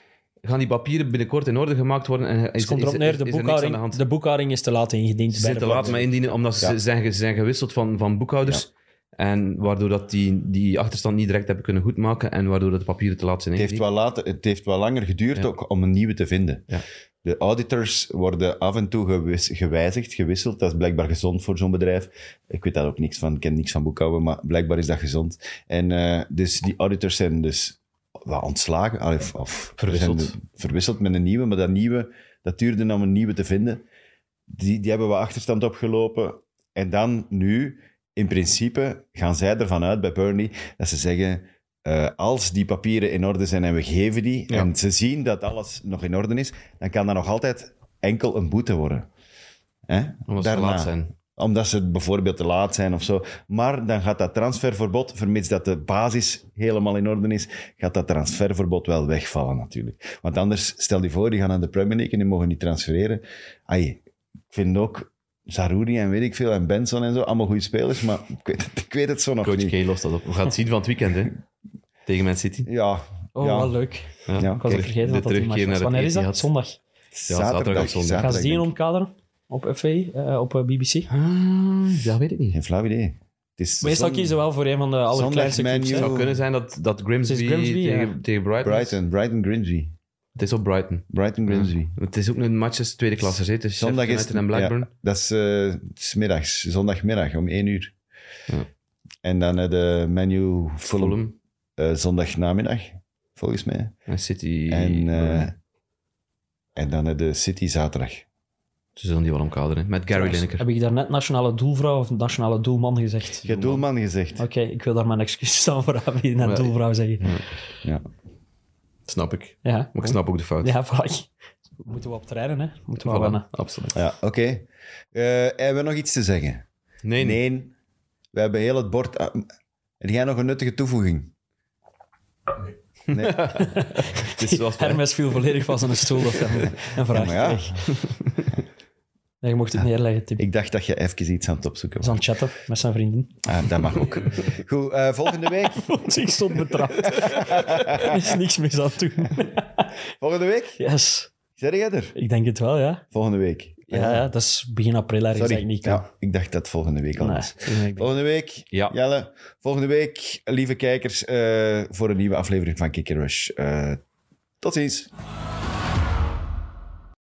Speaker 3: gaan die papieren binnenkort in orde gemaakt worden. En is,
Speaker 4: Het komt
Speaker 3: is-
Speaker 4: erop neer, de
Speaker 3: is er niks aan
Speaker 4: boekhouding,
Speaker 3: de hand.
Speaker 4: de boekhouding is te laat ingediend. bij
Speaker 3: Ze zijn
Speaker 4: de
Speaker 3: te laat
Speaker 4: bank.
Speaker 3: mee indienen, omdat ze
Speaker 2: Ja.
Speaker 3: zijn, ge- zijn gewisseld van, van boekhouders. En waardoor dat die, die achterstand niet direct hebben kunnen goedmaken. En waardoor dat de papieren te laat zijn
Speaker 2: Het heeft,
Speaker 3: ingediend.
Speaker 2: wel later, het heeft wel langer geduurd
Speaker 3: Ja.
Speaker 2: ook om een nieuwe te vinden.
Speaker 3: Ja.
Speaker 2: De auditors worden af en toe gewis- gewijzigd, gewisseld. Dat is blijkbaar gezond voor zo'n bedrijf. Ik weet daar ook niks van, ik ken niks van boekhouden, maar blijkbaar is dat gezond. En eh, dus die auditors zijn dus wel ontslagen allee, of, of
Speaker 3: Verwisseld.
Speaker 2: zijn de- verwisseld met een nieuwe, maar dat nieuwe, dat duurde om een nieuwe te vinden. Die, die hebben we achterstand opgelopen. En dan nu, in principe, gaan zij ervan uit bij Burnley dat ze zeggen: eh, als die papieren in orde zijn en we geven die,
Speaker 3: Ja.
Speaker 2: en ze zien dat alles nog in orde is, dan kan dat nog altijd enkel een boete worden. Hè?
Speaker 3: Omdat ze te laat zijn.
Speaker 2: Omdat ze bijvoorbeeld te laat zijn of zo. Maar dan gaat dat transferverbod, vermits dat de basis helemaal in orde is, gaat dat transferverbod wel wegvallen natuurlijk. Want anders, stel je voor, die gaan naar de Premier League en die mogen niet transfereren. Ai, ik vind ook Zarouri en weet ik veel, en Benson en zo, allemaal goede spelers, maar ik weet het, ik weet het zo nog
Speaker 3: Coach
Speaker 2: niet.
Speaker 3: K lost dat op. We gaan het zien van het weekend, hè. Tegen Man City.
Speaker 2: Ja,
Speaker 4: Oh,
Speaker 2: ja.
Speaker 4: wel leuk.
Speaker 3: Ja.
Speaker 2: Ja,
Speaker 4: Ik was
Speaker 2: kijk,
Speaker 4: het vergeten
Speaker 3: de
Speaker 4: dat dat die
Speaker 3: terugkeer
Speaker 4: match
Speaker 3: naar
Speaker 4: was.
Speaker 3: het
Speaker 4: Wanneer is dat?
Speaker 3: Etihad.
Speaker 4: Zondag.
Speaker 3: zaterdag of zondag.
Speaker 4: Gaan ze die
Speaker 2: denk
Speaker 4: in
Speaker 2: ik.
Speaker 4: omkaderen? Op FA, eh, op eh, BBC?
Speaker 3: Ah, dat weet ik niet.
Speaker 2: Geen flauw idee. Het is
Speaker 4: Meestal
Speaker 2: zon-
Speaker 4: kiezen we wel voor een van de allerkleinste
Speaker 2: Man U.
Speaker 4: clubs. hè.
Speaker 3: Het zou kunnen zijn dat, dat Grimsby,
Speaker 4: Het is Grimsby,
Speaker 3: tegen,
Speaker 4: ja.
Speaker 3: tegen Brighton, is.
Speaker 2: Brighton, Brighton Grimsby.
Speaker 3: Het is op Brighton.
Speaker 2: Brighton Grimsby.
Speaker 3: Het is ook een match tussen tweede klasse. hè. Tussen
Speaker 2: Zondag
Speaker 3: Sheffield
Speaker 2: is
Speaker 3: United en Blackburn.
Speaker 2: ja, dat is eh, het is middags, zondagmiddag om 1 uur.
Speaker 3: Ja.
Speaker 2: En dan eh, de menu Fulham
Speaker 3: Fulham
Speaker 2: eh, zondagnamiddag, volgens mij.
Speaker 3: en City.
Speaker 2: en, eh,
Speaker 3: Brighton.
Speaker 2: en dan eh, de City zaterdag.
Speaker 3: Ze zullen die wel omkaderen. hè. Met Gary
Speaker 4: Trouwens,
Speaker 3: Lineker.
Speaker 4: Heb ik daar net nationale doelvrouw of nationale doelman gezegd?
Speaker 2: Je hebt doelman gezegd.
Speaker 4: Oké, ik wil daar mijn excuses aan voor hebben die net
Speaker 3: Maar-
Speaker 4: doelvrouw zeggen.
Speaker 2: Ja.
Speaker 3: Snap ik.
Speaker 4: Ja,
Speaker 2: Oh.
Speaker 3: Maar ik snap ook de fout.
Speaker 4: ja voilà. Moeten we op trainen, hè? Moeten we wel
Speaker 3: Voilà,
Speaker 4: wennen.
Speaker 3: Absoluut.
Speaker 2: Ja, oké. Eh, hebben we nog iets te zeggen?
Speaker 3: Nee, nee.
Speaker 2: Nee. We hebben heel het bord... ah, Heb jij nog een nuttige toevoeging?
Speaker 3: Het is zoals bij-
Speaker 4: Hermes viel volledig vast aan de stoel dat hij een vraag
Speaker 2: Ja, maar ja.
Speaker 4: kreeg. Nee, je mocht het neerleggen, Tim.
Speaker 2: Ik dacht dat je even iets aan het opzoeken
Speaker 4: Hij is
Speaker 2: was.
Speaker 4: aan het chatten met zijn vrienden.
Speaker 2: Ah, dat mag ook. Goed, eh, volgende week.
Speaker 4: ik stond betrapt. er is niks mis aan toe.
Speaker 2: Volgende week?
Speaker 4: Yes,
Speaker 2: Zeg jij er?
Speaker 4: ik denk het wel, ja.
Speaker 2: Volgende week.
Speaker 4: Ja, ja, dat is begin april ergens dat
Speaker 2: Sorry.
Speaker 4: ik niet kan.
Speaker 2: Ja, ik dacht dat het volgende week al
Speaker 4: Nee,
Speaker 2: was.
Speaker 4: ik denk-
Speaker 2: Volgende week,
Speaker 3: Ja.
Speaker 2: Jelle. Volgende week, lieve kijkers, eh, voor een nieuwe aflevering van Kick Rush. Eh, tot ziens.